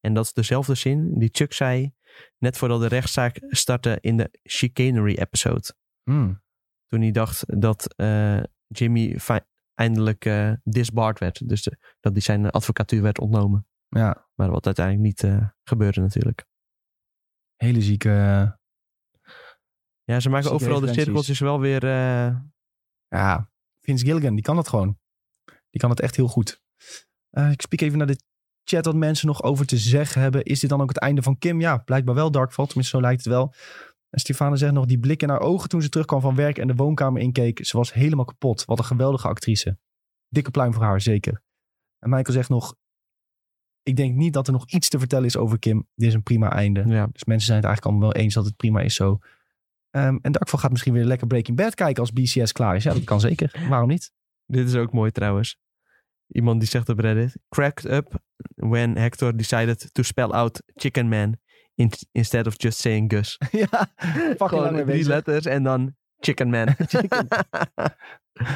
En dat is dezelfde zin die Chuck zei... net voordat de rechtszaak startte in de chicanery episode.
Hmm.
Toen hij dacht dat eh, Jimmy fi- eindelijk eh, disbarred werd. Dus de- dat hij zijn advocatuur werd ontnomen.
ja,
Maar wat uiteindelijk niet eh, gebeurde natuurlijk.
hele zieke. eh,
Ja, ze maken
Zieke
overal de
referenties.
cirkeltjes wel weer... eh,
ja, Vince Gilligan, die kan dat gewoon. Die kan het echt heel goed. Eh, ik spreek even naar de chat wat mensen nog over te zeggen hebben. Is dit dan ook het einde van Kim? Ja, blijkbaar wel Darkfall. Tenminste, zo lijkt het wel. En Stefane zegt nog, die blik in haar ogen toen ze terugkwam van werk en de woonkamer inkeek. Ze was helemaal kapot. Wat een geweldige actrice. Dikke pluim voor haar, zeker. En Michael zegt nog, ik denk niet dat er nog iets te vertellen is over Kim. Dit is een prima einde.
ja,
Dus mensen zijn het eigenlijk allemaal wel eens dat het prima is zo. Ehm, en Darkval gaat misschien weer lekker Breaking Bad kijken als BCS klaar is. Ja, dat kan zeker. Waarom niet?
Dit is ook mooi trouwens. Iemand die zegt op Reddit: Cracked up when Hector decided to spell out Chicken Man in- instead of just saying Gus.
ja, fucking
Gewoon
lang mee
drie
bezig.
letters en dan Chicken Man.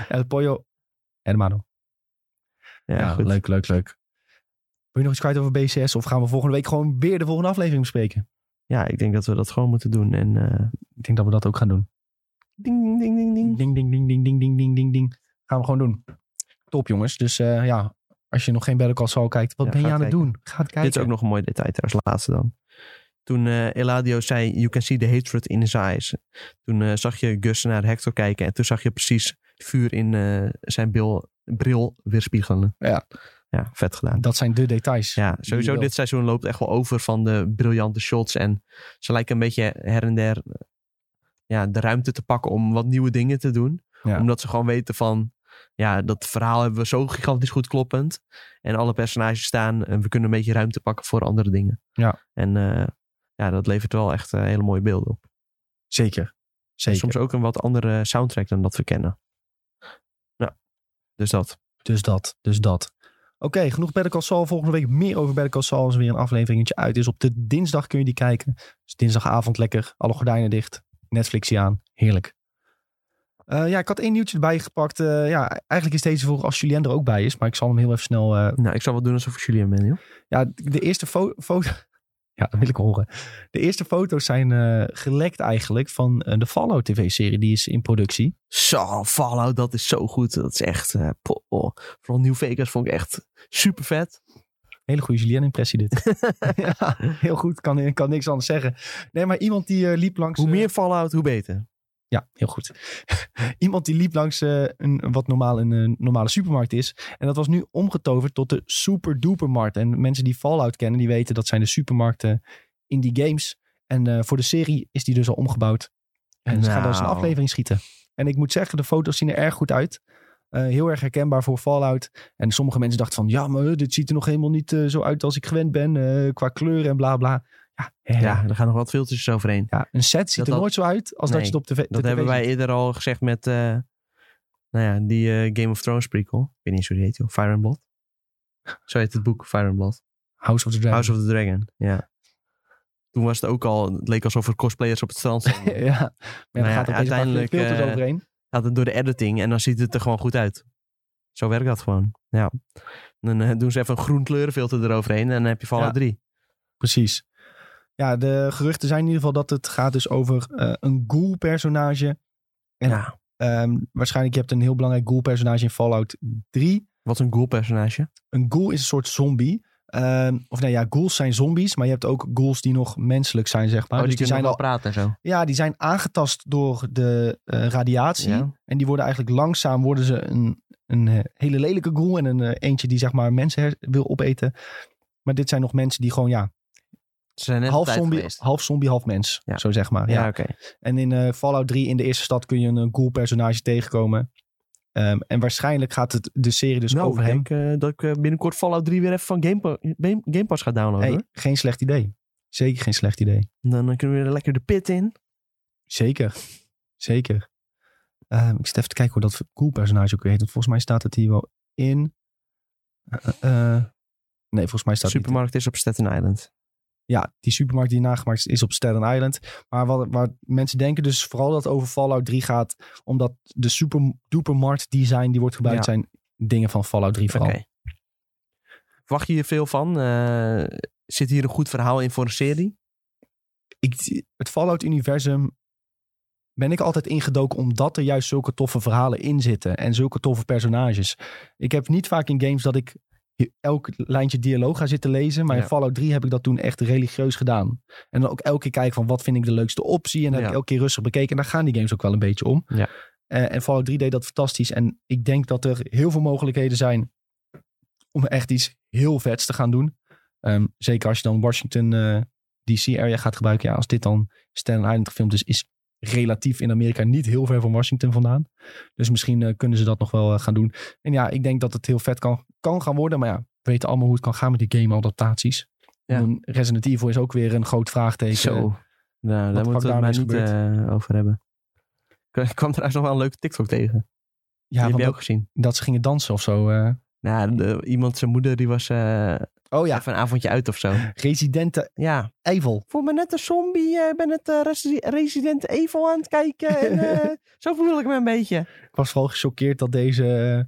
El Pollo. Hermano.
ja,
Ja,
goed.
leuk, leuk, leuk. je nog iets kwijt over BCS? Of gaan we volgende week gewoon weer de volgende aflevering bespreken?
Ja, ik denk dat we dat gewoon moeten doen. En eh,
Ik denk dat we dat ook gaan doen.
ding, ding, ding, ding.
Ding, ding, ding, ding, ding, ding, ding, ding, ding. Gaan we gewoon doen. Top jongens. Dus eh, ja, als je nog geen Better Call Saul kijkt, wat
Ja,
ben je
ga
aan
kijken.
het doen? Ga het kijken.
Dit is ook nog een mooi detail trouwens, laatste dan. Toen eh, Eladio zei, you can see the hatred in his eyes. Toen eh, zag je Gus naar Hector kijken en toen zag je precies vuur in eh, zijn bil, bril weerspiegelen.
Ja.
Ja, vet gedaan.
Dat zijn de details.
Ja,
je
sowieso
wil.
dit seizoen loopt echt wel over van de briljante shots. En ze lijken een beetje her en der eh, ja, de ruimte te pakken om wat nieuwe dingen te doen.
Ja.
Omdat ze gewoon weten van, ja, dat verhaal hebben we zo gigantisch goed kloppend. En alle personages staan en we kunnen een beetje ruimte pakken voor andere dingen.
Ja.
En eh, ja, dat levert wel echt eh, hele mooie beelden op.
Zeker.
En
Zeker.
soms ook een wat andere soundtrack dan dat we kennen. Nou, dus dat.
Dus dat, dus dat. Oké, genoeg Better Call Saul. Volgende week meer over Better Call Saul als er weer een afleveringetje uit is. Op de dinsdag kun je die kijken. Dus dinsdagavond lekker, alle gordijnen dicht, Netflixje aan. Heerlijk. Eh, ja, ik had één nieuwtje erbij gepakt. Eh, ja, eigenlijk is deze voor als Julien er ook bij is. Maar ik zal hem heel even snel... eh,
Nou, ik zal wel doen alsof ik Julien ben, joh.
ja, de eerste fo- foto... Ja, dat wil ik horen. De eerste foto's zijn eh, gelekt eigenlijk van eh, de Fallout TV-serie. Die is in productie.
Zo, Fallout, dat is zo goed. Dat is echt, eh, po- oh. vooral New Vegas vond ik echt super vet.
Hele goede Julien-impressie dit. ja, heel goed. Kan, kan niks anders zeggen. Nee, maar iemand die eh, liep langs...
Hoe
eh,
meer Fallout, hoe beter.
ja, heel goed. iemand die liep langs eh, een, wat normaal een, eh, normale supermarkt is. En dat was nu omgetoverd tot de Super Dupermarkt. En mensen die Fallout kennen, die weten dat zijn de supermarkten in die games. En eh, voor de serie is die dus al omgebouwd. En ze gaan daar eens een
Nou.
aflevering schieten. En ik moet zeggen, de foto's zien er erg goed uit. Eh, heel erg herkenbaar voor Fallout. En sommige mensen dachten van, ja, maar eh, dit ziet er nog helemaal niet eh, zo uit als ik gewend ben. eh, qua kleur en bla bla. Ja, hè.
Ja, er gaan nog wat filters overheen.
Ja, een set ziet
Dat
er
had-
nooit zo uit als
Nee,
dat je het op tv de
Dat
tv
hebben wij
ziet.
eerder al gezegd met, eh, nou ja, die eh, Game of Thrones prequel. Ik weet niet eens hoe die heet, joh. Fire and Blood. Zo heet het boek, Fire and Blood.
House of the Dragon.
House of the Dragon, ja. Toen was het ook al, het leek alsof er cosplayers op het strand stonden.
ja, maar ja,
Nou
dan
ja,
gaat er
uiteindelijk,
uiteindelijk filters
eh,
overheen.
gaat het door de editing en dan ziet het er gewoon goed uit. Zo werkt dat gewoon. Ja. Dan eh, doen ze even een groen kleurenfilter eroverheen en dan heb je Fallout
Ja.
3.
Precies. Ja, de geruchten zijn in ieder geval dat het gaat dus over eh, een ghoul-personage. En
Ja.
ehm, waarschijnlijk je hebt een heel belangrijk ghoul-personage in Fallout 3.
Wat een cool personage.
Een ghoul is een soort zombie. Ehm, of nou ja, ghouls zijn zombies, maar je hebt ook ghouls die nog menselijk zijn, zeg maar.
Oh, die,
dus die
kunnen
zijn
wel
al,
praten en zo.
ja, die zijn aangetast door de eh, radiatie.
Ja.
En die worden eigenlijk langzaam worden ze een, een eh, hele lelijke ghoul en een eh, eentje die zeg maar mensen her- wil opeten. Maar dit zijn nog mensen die gewoon ja,
Ze zijn net
half
op tijd
zombie,
geweest.
half zombie, half mens.
Ja.
Zo zeg maar.
Ja,
Ja.
oké.
En in eh, Fallout 3 in de eerste stad kun je een eh, ghoul personage tegenkomen. Ehm, en waarschijnlijk gaat het de serie dus
nou,
over
ik
hem.
denk eh, dat ik eh, binnenkort Fallout 3 weer even van Game, Pa- Game- Game Pass ga downloaden.
Hey,
hoor.
geen slecht idee. Zeker geen slecht idee.
Dan eh, kunnen we weer lekker de pit in.
Zeker. Zeker. Ehm, ik zit even te kijken hoe dat ghoul personage ook weer heet. Want volgens mij staat het hier wel in. Eh, eh, eh. nee, volgens mij staat het niet
Supermarkt is op Staten Island.
ja, die supermarkt die nagemaakt is, is op Staten Island. Maar wat, waar mensen denken dus vooral dat het over Fallout 3 gaat, omdat de super dupermarkt design die wordt gebruikt
Ja.
zijn dingen van Fallout 3
Oké.
vooral.
Verwacht je hier veel van? Eh, zit hier een goed verhaal in voor een serie?
Ik, het Fallout universum ben ik altijd ingedoken omdat er juist zulke toffe verhalen in zitten en zulke toffe personages. Ik heb niet vaak in games dat ik elk lijntje dialoog ga zitten lezen, maar
Ja.
in Fallout 3 heb ik dat toen echt religieus gedaan. En dan ook elke keer kijken van wat vind ik de leukste optie en dan heb
Ja.
ik elke keer rustig bekeken en daar gaan die games ook wel een beetje om.
Ja.
Eh, en Fallout 3 deed dat fantastisch. En ik denk dat er heel veel mogelijkheden zijn om echt iets heel vets te gaan doen. Ehm, zeker als je dan Washington eh, DC area gaat gebruiken. Ja, als dit dan Staten Island gefilmd is, is relatief in Amerika niet heel ver van Washington vandaan. Dus misschien eh, kunnen ze dat nog wel eh, gaan doen. En ja, ik denk dat het heel vet kan, kan gaan worden. Maar ja, we weten allemaal hoe het kan gaan met die game-adaptaties.
Ja.
Ja. Resident Evil is ook weer een groot vraagteken.
Zo. Nou,
Wat de
daar moeten we
fuck
het maar
daarmee
niet
is
eh, over hebben. Ik ik kwam trouwens nog wel een leuke TikTok tegen.
Ja,
die
want
heb je
dat,
ook gezien.
dat ze gingen dansen of zo. eh.
Nou, de- iemand, zijn moeder, die was eh,
Oh ja,
even een avondje uit of zo.
Resident
Ja.
Evil.
Voel me net een zombie. eh, Ik ben het eh, Resi- Resident Evil aan het kijken. En, eh, zo voel ik me een beetje.
Ik was vooral gechoqueerd dat deze eh,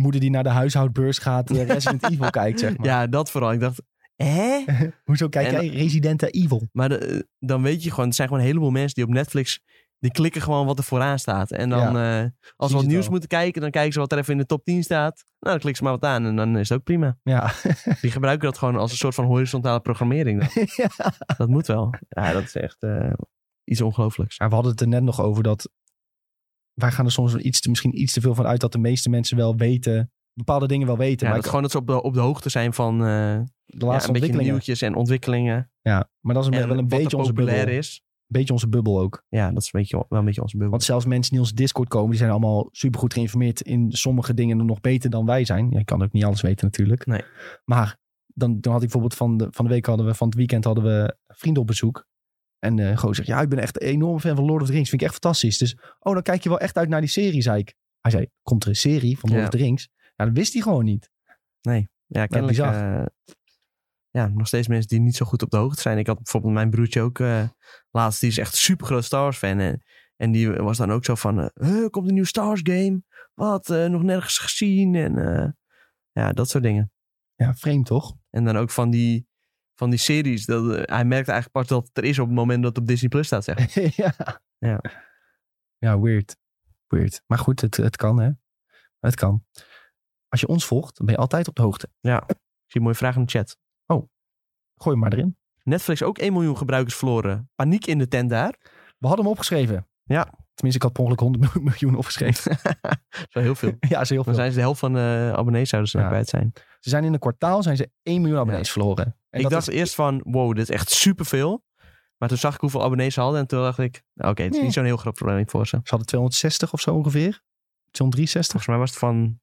moeder die naar de huishoudbeurs gaat eh, Resident Evil kijkt, zeg maar.
Ja, dat vooral. Ik dacht, hè?
Hoezo kijk
En-
jij Resident Evil?
Maar de- eh, dan weet je gewoon, er zijn gewoon een heleboel mensen die op Netflix, die klikken gewoon wat er vooraan staat. En dan, eh, als
Zien
ze wat
het
nieuws
al.
moeten kijken, dan kijken ze wat er even in de top 10 staat. Nou, dan klikken ze maar wat aan en dan is het ook prima.
Ja.
Die gebruiken dat gewoon als een soort van horizontale programmering. dan.
Ja.
Dat moet wel. Ja, dat is echt eh, iets ongelooflijks.
Ja, we hadden het er net nog over dat wij gaan er soms wel iets te, misschien iets te veel van uit dat de meeste mensen wel weten, bepaalde dingen wel weten.
Ja,
maar
dat gewoon dat ze op de, op de hoogte zijn van eh,
ik- de laatste
ja, een beetje
ontwikkelingen.
nieuwtjes en ontwikkelingen.
Ja, maar dat is
en
wel een
wat er
beetje onze
populair
bubbel.
is.
beetje onze bubbel ook.
Ja, dat is een beetje, wel een beetje onze bubbel.
Want zelfs mensen die ons Discord komen, die zijn allemaal supergoed geïnformeerd in sommige dingen nog beter dan wij zijn. Ja, ik kan ook niet alles weten natuurlijk.
Nee.
Maar dan, dan had ik bijvoorbeeld van de, van de week hadden we, van het weekend hadden we vrienden op bezoek. En eh gewoon zegt, ja, ik ben echt een enorme fan van Lord of the Rings. Vind ik echt fantastisch. Dus, oh, dan kijk je wel echt uit naar die serie, zei ik. Hij zei, komt er een serie van Lord
Ja.
of the Rings? Ja, dat wist hij gewoon niet.
Ja, kennelijk.
bizar.
eh, ja, nog steeds mensen die niet zo goed op de hoogte zijn. Ik had bijvoorbeeld mijn broertje ook eh, laatst. Die is echt super groot Star Wars fan. En, en die was dan ook zo van... eh, "Huh, komt een nieuw Star Wars game? Wat? eh, nog nergens gezien? En eh, ja, dat soort dingen.
Ja, vreemd toch?
En dan ook van die, van die series. Dat, eh, hij merkt eigenlijk pas dat het er is op het moment dat het op Disney Plus staat. Zeg. maar.
ja.
Ja.
Ja, weird. Weird. Maar goed, het, het kan hè. Het kan. Als je ons volgt, dan ben je altijd op de hoogte.
Ik zie een mooie vraag in de chat.
Gooi hem maar erin.
Netflix ook 1 miljoen gebruikers verloren. Paniek in de tent daar.
We hadden hem opgeschreven.
Ja.
Tenminste, ik had per ongeluk 100 miljoen opgeschreven.
Dat is wel heel veel.
ja, dat is heel
Dan
veel.
zijn ze de helft van de abonnees zouden ze
Ja.
naar kwijt zijn.
Ze zijn in een kwartaal zijn ze 1 miljoen abonnees verloren. En
ik
dat
dacht
is-
eerst van, wow, dit is echt superveel. Maar toen zag ik hoeveel abonnees ze hadden. En toen dacht ik, oké, het is
Nee.
niet zo'n heel groot probleem voor ze.
Ze hadden 260 of zo ongeveer. 263.
Volgens mij was het van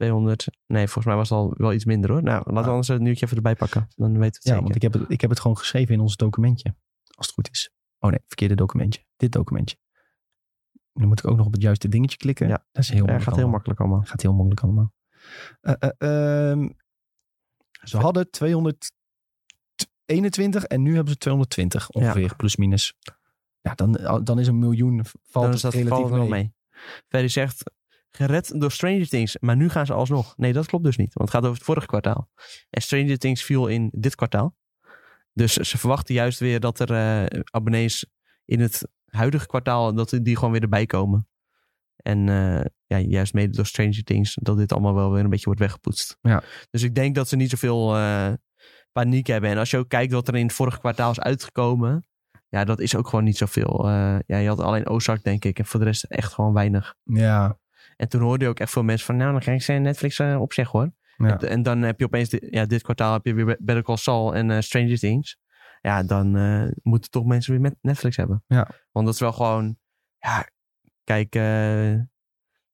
200. Nee, volgens mij was het al wel iets minder hoor. Nou, laten we
Ah.
anders het nieuwtje even erbij pakken. Dan weten we het
Ja,
zeker.
want ik heb, het, ik heb het gewoon geschreven in ons documentje. Als het goed is. Oh nee, verkeerde documentje. Dit documentje. Dan moet ik ook nog op het juiste dingetje klikken.
Ja.
dat is heel
Ja,
moeilijk.
gaat heel
allemaal.
makkelijk allemaal.
Gaat heel makkelijk allemaal. Eh, eh, ehm, ze hadden 221 en nu hebben ze 220 ongeveer, plus minus. Ja, dan, eh, dan is een miljoen v- valt
Dan
het
is dat
relatief
valt wel
mee.
mee. Ferry zegt, gered door Stranger Things. Maar nu gaan ze alsnog. Nee, dat klopt dus niet. Want het gaat over het vorige kwartaal. En Stranger Things viel in dit kwartaal. Dus ze verwachten juist weer dat er eh, abonnees in het huidige kwartaal, dat die gewoon weer erbij komen. En eh, ja, juist mede door Stranger Things, dat dit allemaal wel weer een beetje wordt weggepoetst.
Ja.
Dus ik denk dat ze niet zoveel eh, paniek hebben. En als je ook kijkt wat er in het vorige kwartaal is uitgekomen, ja, dat is ook gewoon niet zoveel. Eh, ja, je had alleen Ozark, denk ik. En voor de rest echt gewoon weinig.
Ja,
En toen hoorde je ook echt veel mensen van... nou, dan ga ik zijn Netflix eh, opzeggen hoor.
ja.
En dan heb je opeens... di- ja, dit kwartaal heb je weer Better Call Saul en eh, Stranger Things. Ja, dan eh, moeten toch mensen weer met Netflix hebben.
Ja.
Want dat is wel gewoon... Ja, kijk... eh,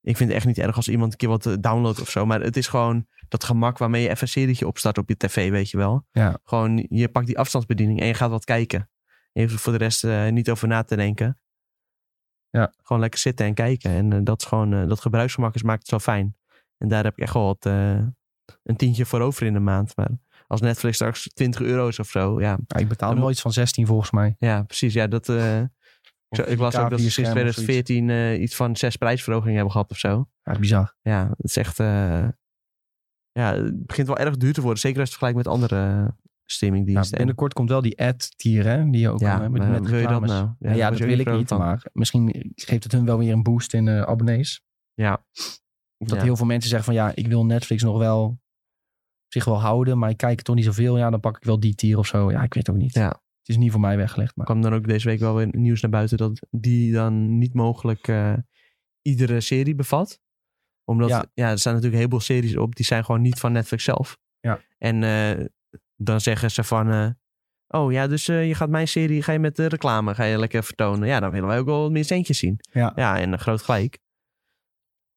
ik vind het echt niet erg als iemand een keer wat eh, downloadt of zo. Maar het is gewoon dat gemak waarmee je even een serietje opstart op je tv, weet je wel.
Ja.
Gewoon, je pakt die afstandsbediening en je gaat wat kijken. En je hoeft er voor de rest eh, niet over na te denken.
Ja.
Gewoon lekker zitten en kijken. En eh, dat, is gewoon, eh, dat gebruiksgemak is, maakt het zo fijn. En daar heb ik echt wel wat, eh, een tientje voor over in de maand. Maar als Netflix straks 20 euro is of zo, ja,
Ja, ik betaal
Dan-
wel iets van 16 volgens mij.
ja precies. Ja, dat, eh, ik zo- ik las ook dat ze sinds 2014 eh, iets van zes prijsverhogingen hebben gehad of zo.
Ja, bizar.
Ja, het is echt... eh, ja, het begint wel erg duur te worden. Zeker als je het vergelijkt met andere eh,
Ja,
streamingdiensten. En-
binnenkort komt wel die ad-tier, hè? Die je ook
ja,
kan, hè, met,
maar
met
wil je dat
reclames.
nou?
Ja, ja,
daar
dat
word je
wil
ook
ik
vrolijk
niet,
van.
maar misschien geeft het hun wel weer een boost in eh, abonnees.
Ja.
Dat
Ja.
heel veel mensen zeggen van ja, ik wil Netflix nog wel zich wel houden, maar ik kijk toch niet zoveel. Ja, dan pak ik wel die tier of zo. Ja, ik weet ook niet.
Ja.
Het is niet voor mij weggelegd, maar
kwam dan ook deze week wel weer nieuws naar buiten dat die dan niet mogelijk eh, iedere serie bevat. Omdat
Ja.
ja. er staan natuurlijk een heleboel series op die zijn gewoon niet van Netflix zelf.
Ja.
En eh, dan zeggen ze van, eh, oh ja, dus eh, je gaat mijn serie, ga je met de reclame, ga je lekker vertonen. Ja, dan willen wij ook wel wat meer centjes zien.
Ja.
ja en eh, groot gelijk.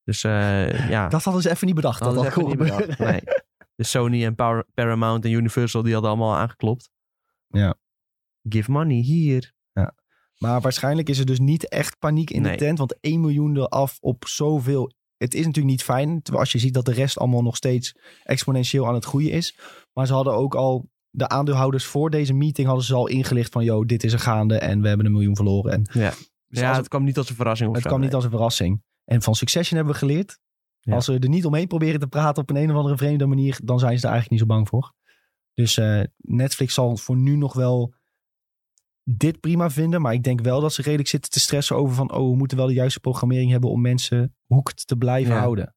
Dus eh, ja.
dat hadden ze even niet bedacht. Dat, dat
Dat is even
kon
niet
gebeuren.
bedacht. Nee. Dus Sony en Power- Paramount en Universal, die hadden allemaal aangeklopt.
Ja.
Give money hier.
Maar waarschijnlijk is er dus niet echt paniek in
Nee.
de tent, want 1 miljoen eraf op zoveel. Het is natuurlijk niet fijn, terwijl als je ziet dat de rest allemaal nog steeds exponentieel aan het groeien is. Maar ze hadden ook al, de aandeelhouders voor deze meeting hadden ze al ingelicht van, yo, dit is er gaande en we hebben een miljoen verloren. En
Ja.
Dus
ja,
als
het kwam niet als een verrassing of
Het
zo,
kwam niet
nee.
als een verrassing. En van Succession hebben we geleerd
Ja.
Als ze er niet omheen proberen te praten op een, een of andere vreemde manier, dan zijn ze er eigenlijk niet zo bang voor. Dus eh, Netflix zal voor nu nog wel dit prima vinden. Maar ik denk wel dat ze redelijk zitten te stressen over van... oh, we moeten wel de juiste programmering hebben om mensen hoekt te blijven
Ja.
houden.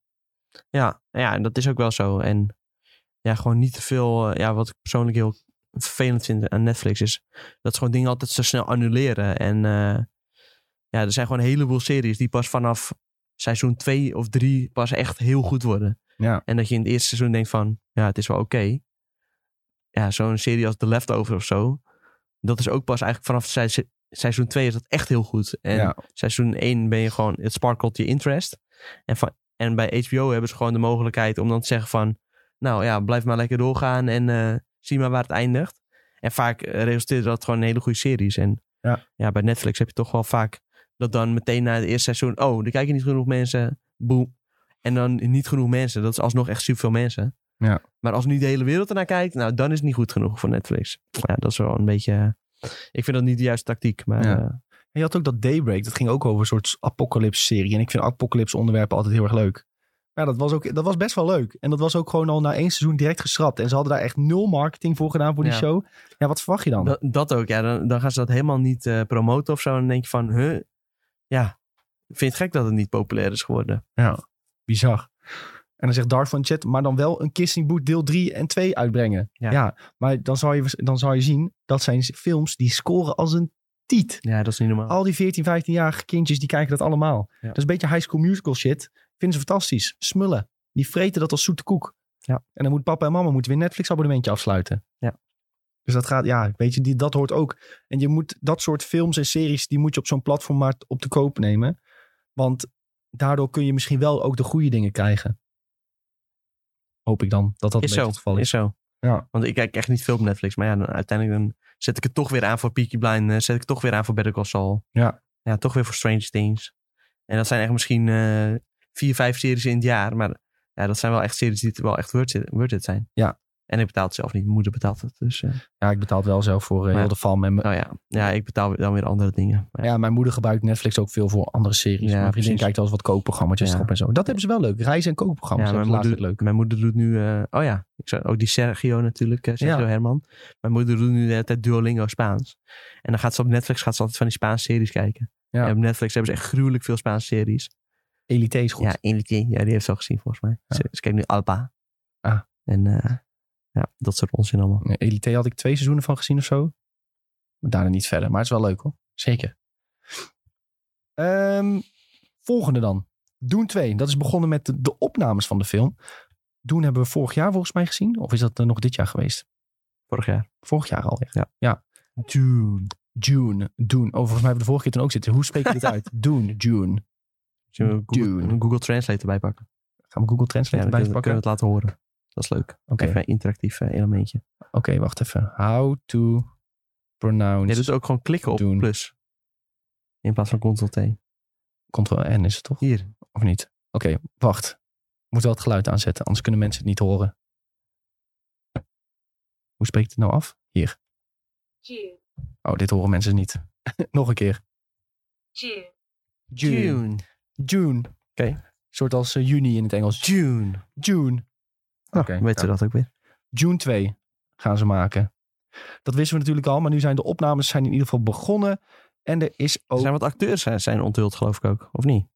Ja, ja, en dat is ook wel zo. En ja, gewoon niet te veel. eh, ja, wat ik persoonlijk heel vervelend vind aan Netflix is dat ze gewoon dingen altijd zo snel annuleren. En eh, ja, er zijn gewoon een heleboel series die pas vanaf seizoen 2 of 3 pas echt heel goed worden.
Ja.
En dat je in het eerste seizoen denkt van, ja, het is wel oké. Ja, zo'n serie als The Leftover of zo, dat is ook pas eigenlijk vanaf se- seizoen 2 is dat echt heel goed. En
ja.
seizoen 1 ben je gewoon, het sparkelt je interest. En, van, en bij HBO hebben ze gewoon de mogelijkheid om dan te zeggen van, nou ja, blijf maar lekker doorgaan en eh, zie maar waar het eindigt. En vaak eh, resulteert dat gewoon in hele goede series. En
Ja.
bij Netflix heb je toch wel vaak dat dan meteen na het eerste seizoen, oh, er kijken niet genoeg mensen, boem. En dan niet genoeg mensen, dat is alsnog echt superveel mensen.
Ja.
Maar als nu de hele wereld ernaar kijkt, nou, dan is het niet goed genoeg voor Netflix. Ja, dat is wel een beetje... eh, Ik vind dat niet de juiste tactiek, maar...
Ja.
eh,
En je had ook dat Daybreak. Dat ging ook over een soort apocalypse-serie. En ik vind apocalypse-onderwerpen altijd heel erg leuk. Maar ja, dat was, ook, dat was best wel leuk. En dat was ook gewoon al na één seizoen direct geschrapt. En ze hadden daar echt nul marketing voor gedaan voor die
Ja.
show. Ja, wat verwacht je dan?
Dat, dat ook, ja. Dan, dan gaan ze dat helemaal niet eh, promoten of zo. En dan denk je van, huh, ja, ik vind het gek dat het niet populair is geworden.
Bizar. En dan zegt Dark van chat, maar dan wel een Kissing Boot deel 3 en 2 uitbrengen. Ja,
Ja.
maar dan zou, je, dan zou je zien, dat zijn films die scoren als een tiet.
Ja, dat is niet normaal.
Al die 14, 15-jarige kindjes, die kijken dat allemaal.
Ja.
Dat is een beetje high school musical shit. Vinden ze fantastisch. Smullen. Die vreten dat als zoete koek.
Ja.
En dan moet papa en mama moeten weer een Netflix abonnementje afsluiten.
Ja.
Dus dat gaat, ja, weet je, die, dat hoort ook. En je moet dat soort films en series, die moet je op zo'n platform maar op de koop nemen. Want daardoor kun je misschien wel ook de goede dingen krijgen. Hoop ik dan, dat dat
is
een beetje
zo,
het geval is.
is zo.
Ja.
Want ik kijk echt niet veel op Netflix. Maar ja, dan, uiteindelijk dan zet ik het toch weer aan voor Peaky Blind. eh, Zet ik het toch weer aan voor Better Call Saul.
Ja.
Ja, toch weer voor Strange Things. En dat zijn echt misschien eh, vier, vijf series in het jaar. Maar ja, dat zijn wel echt series die het wel echt worth it, worth it zijn.
Ja.
En ik betaal het zelf niet. Mijn moeder betaalt het. Dus eh,
Ja, ik betaal het wel zelf voor eh,
Ja.
heel de fam. En, mijn-
nou ja. ja, ik betaal dan weer andere dingen. Maar
Ja, mijn moeder gebruikt Netflix ook veel voor andere series.
Ja,
mijn vriendin
precies.
kijkt wel eens wat kookprogramma's
Ja.
erop en zo. Dat hebben ze wel leuk. Reizen en kookprogramma's.
Ja,
dat
mijn
is laatst ook leuk.
Mijn moeder doet nu, eh, oh ja, ik zou, ook die Sergio natuurlijk, eh, Sergio
Ja.
Herman. Mijn moeder doet nu de hele tijd Duolingo Spaans. En dan gaat ze op Netflix gaat ze altijd van die Spaanse series kijken.
Ja.
En op Netflix hebben ze echt gruwelijk veel Spaanse series.
Elite is goed.
Ja, Elite, ja, die heeft ze al gezien volgens mij. Ze, ze kijkt nu Alpa.
Ah.
En eh, ja, dat soort onzin allemaal.
Nee, E Elite had ik twee seizoenen van gezien of zo. Maar daarna niet verder. Maar het is wel leuk hoor. Zeker. Ehm, volgende dan. Doen 2. Dat is begonnen met de, de opnames van de film. Doen hebben we vorig jaar volgens mij gezien. Of is dat eh, nog dit jaar geweest?
Vorig jaar.
Vorig jaar al echt.
Ja. June.
June. Doen. Oh, volgens mij hebben we de vorige keer toen ook zitten. Hoe spreek je dit uit? Doen. June.
Zullen we Google,
Dune.
Google Translate erbij pakken?
Gaan we Google
Ja,
Translate
dan
erbij
kunnen, we-
pakken?
kunnen we het laten horen. Dat is leuk.
Oké.
Even een interactief eh, elementje.
Oké, wacht even. How to pronounce
Je doet dus ook gewoon klikken op
Dune.
plus. In plaats van Ctrl T.
Ctrl-N is het toch?
Hier.
Of niet? Oké, wacht. Moet wel het geluid aanzetten, anders kunnen mensen het niet horen. Hoe spreekt het nou af? Hier.
June,
Oh, dit horen mensen niet. Nog een keer.
June,
June.
June. Oké. soort als eh, juni in het Engels.
June.
June. Oké.
Weet je Nou, dat ook weer?
June 2 gaan ze maken. Dat wisten we natuurlijk al, maar nu zijn de opnames zijn in ieder geval begonnen. En er is
Er
ook...
zijn wat acteurs eh, zijn onthuld, geloof ik ook. Of niet?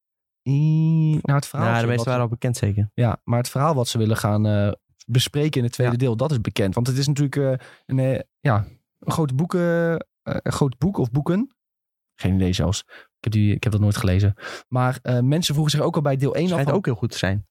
I- Nou, het verhaal...
Ja, de
wat-
meeste waren al bekend zeker.
Ja, maar het verhaal wat ze willen gaan eh, bespreken in het tweede deel, dat is bekend. Want het is natuurlijk eh, een, eh, ja, een groot, boek, eh, eh, een groot boek of boeken. Geen idee zelfs. Ik heb, die, ik heb dat nooit gelezen. Maar eh, mensen vroegen zich ook al bij deel 1 af
Schijnt
van,
ook heel goed te zijn.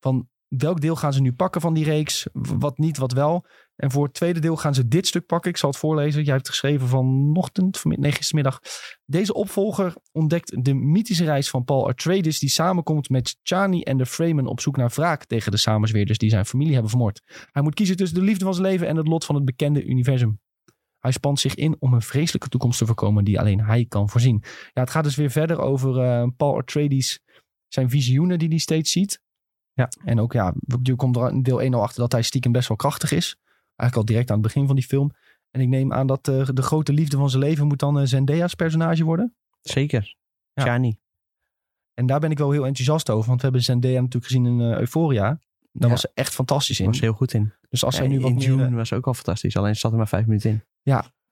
van welk deel gaan ze nu pakken van die reeks? W- Wat niet, wat wel? En voor het tweede deel gaan ze dit stuk pakken. Ik zal het voorlezen. Jij hebt geschreven vanochtend, vanmi- nee gistermiddag. Deze opvolger ontdekt de mythische reis van Paul Atreides... die samenkomt met Chani en de Fremen op zoek naar wraak... tegen de samenzweerders die zijn familie hebben vermoord. Hij moet kiezen tussen de liefde van zijn leven en het lot van het bekende universum. Hij spant zich in om een vreselijke toekomst te voorkomen die alleen hij kan voorzien. Ja, het gaat dus weer verder over eh, Paul Atreides, zijn visioenen die hij steeds ziet.
Ja.
En ook, ja, je komt er in deel 1 al achter dat hij stiekem best wel krachtig is. Eigenlijk al direct aan het begin van die film. En ik neem aan dat eh, de grote liefde van zijn leven moet dan eh, Zendaya's personage worden.
Zeker.
Ja.
Shani.
En daar ben ik wel heel enthousiast over. Want we hebben Zendaya natuurlijk gezien in eh, Euphoria. Daar
Ja.
was ze echt fantastisch in.
was heel goed in.
Dus als zij
Ja,
nu wat
in
meer,
June
eh,
was ze ook al fantastisch. Alleen ze zat er maar vijf minuten in.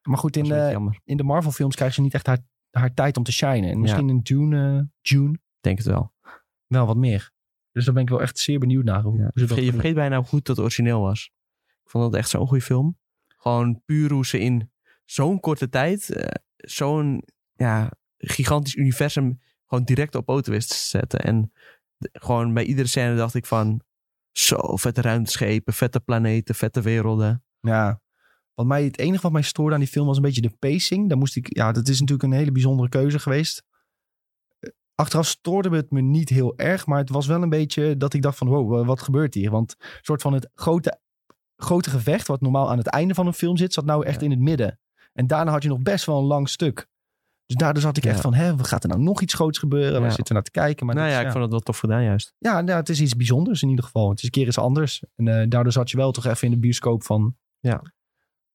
Maar goed,
Dat
in,
is een beetje
eh,
jammer. Ik
in de Marvel films krijgt ze niet echt haar, haar tijd om te shinen. En misschien in June, eh, June
denk het wel.
wel wat meer. Dus daar ben ik wel echt zeer benieuwd naar. Hoe, hoe ze
Je
dat
vergeet- je
doen.
vergeet bijna hoe goed dat origineel was. Ik vond dat echt zo'n goede film. Gewoon puur hoe ze in zo'n korte tijd eh, zo'n ja, gigantisch universum gewoon direct op poten wist te zetten. En de- gewoon bij iedere scène dacht ik van zo, vette ruimteschepen, vette planeten, vette werelden.
Ja. Wat mij, het enige wat mij stoorde aan die film was een beetje de pacing. Daar moest ik, ja, dat is natuurlijk een hele bijzondere keuze geweest. Eh, Achteraf stoorde het me niet heel erg, maar het was wel een beetje dat ik dacht van, wow, wa- wat gebeurt hier? Want een soort van het grote, grote gevecht, wat normaal aan het einde van een film zit, zat nou echt
Ja.
in het midden. En daarna had je nog best wel een lang stuk. Dus daardoor zat ik echt
Ja.
van, hè, gaat er nou nog iets groots gebeuren? Waar
Ja.
zitten we naar te kijken? Maar
nou
dit
ja,
is-
ik vond het wel tof gedaan juist.
ja, nou, het is iets bijzonders in ieder geval. Het is een keer iets anders. En eh, daardoor zat je wel toch even in de bioscoop van...
Ja.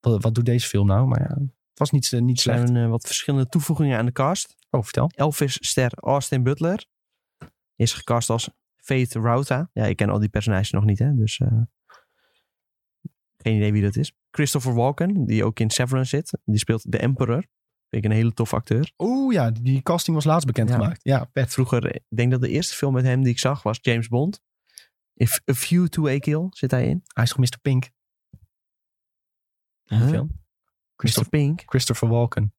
Wat, wat doet deze film nou? Maar ja, het was niet, eh, niet
Er zijn
slecht.
eh, wat verschillende toevoegingen aan de cast.
Oh, vertel.
Elvis-ster Austin Butler. Is gecast als Faith Rauta. Ja, ik ken al die personages nog niet, hè. Dus eh, geen idee wie dat is. Christopher Walken, die ook in Severance zit. Die speelt The Emperor. Vind ik een hele tof acteur.
Oeh ja, die casting was laatst bekendgemaakt. Ja, vet.
Vroeger, eh, ik denk dat de eerste film met hem die ik zag was James Bond. If A Few to A Kill zit hij in.
Hij is toch Mr. Pink? in die
Huh?
film?
Mr.
Christopher,
Pink?
Christopher Walken.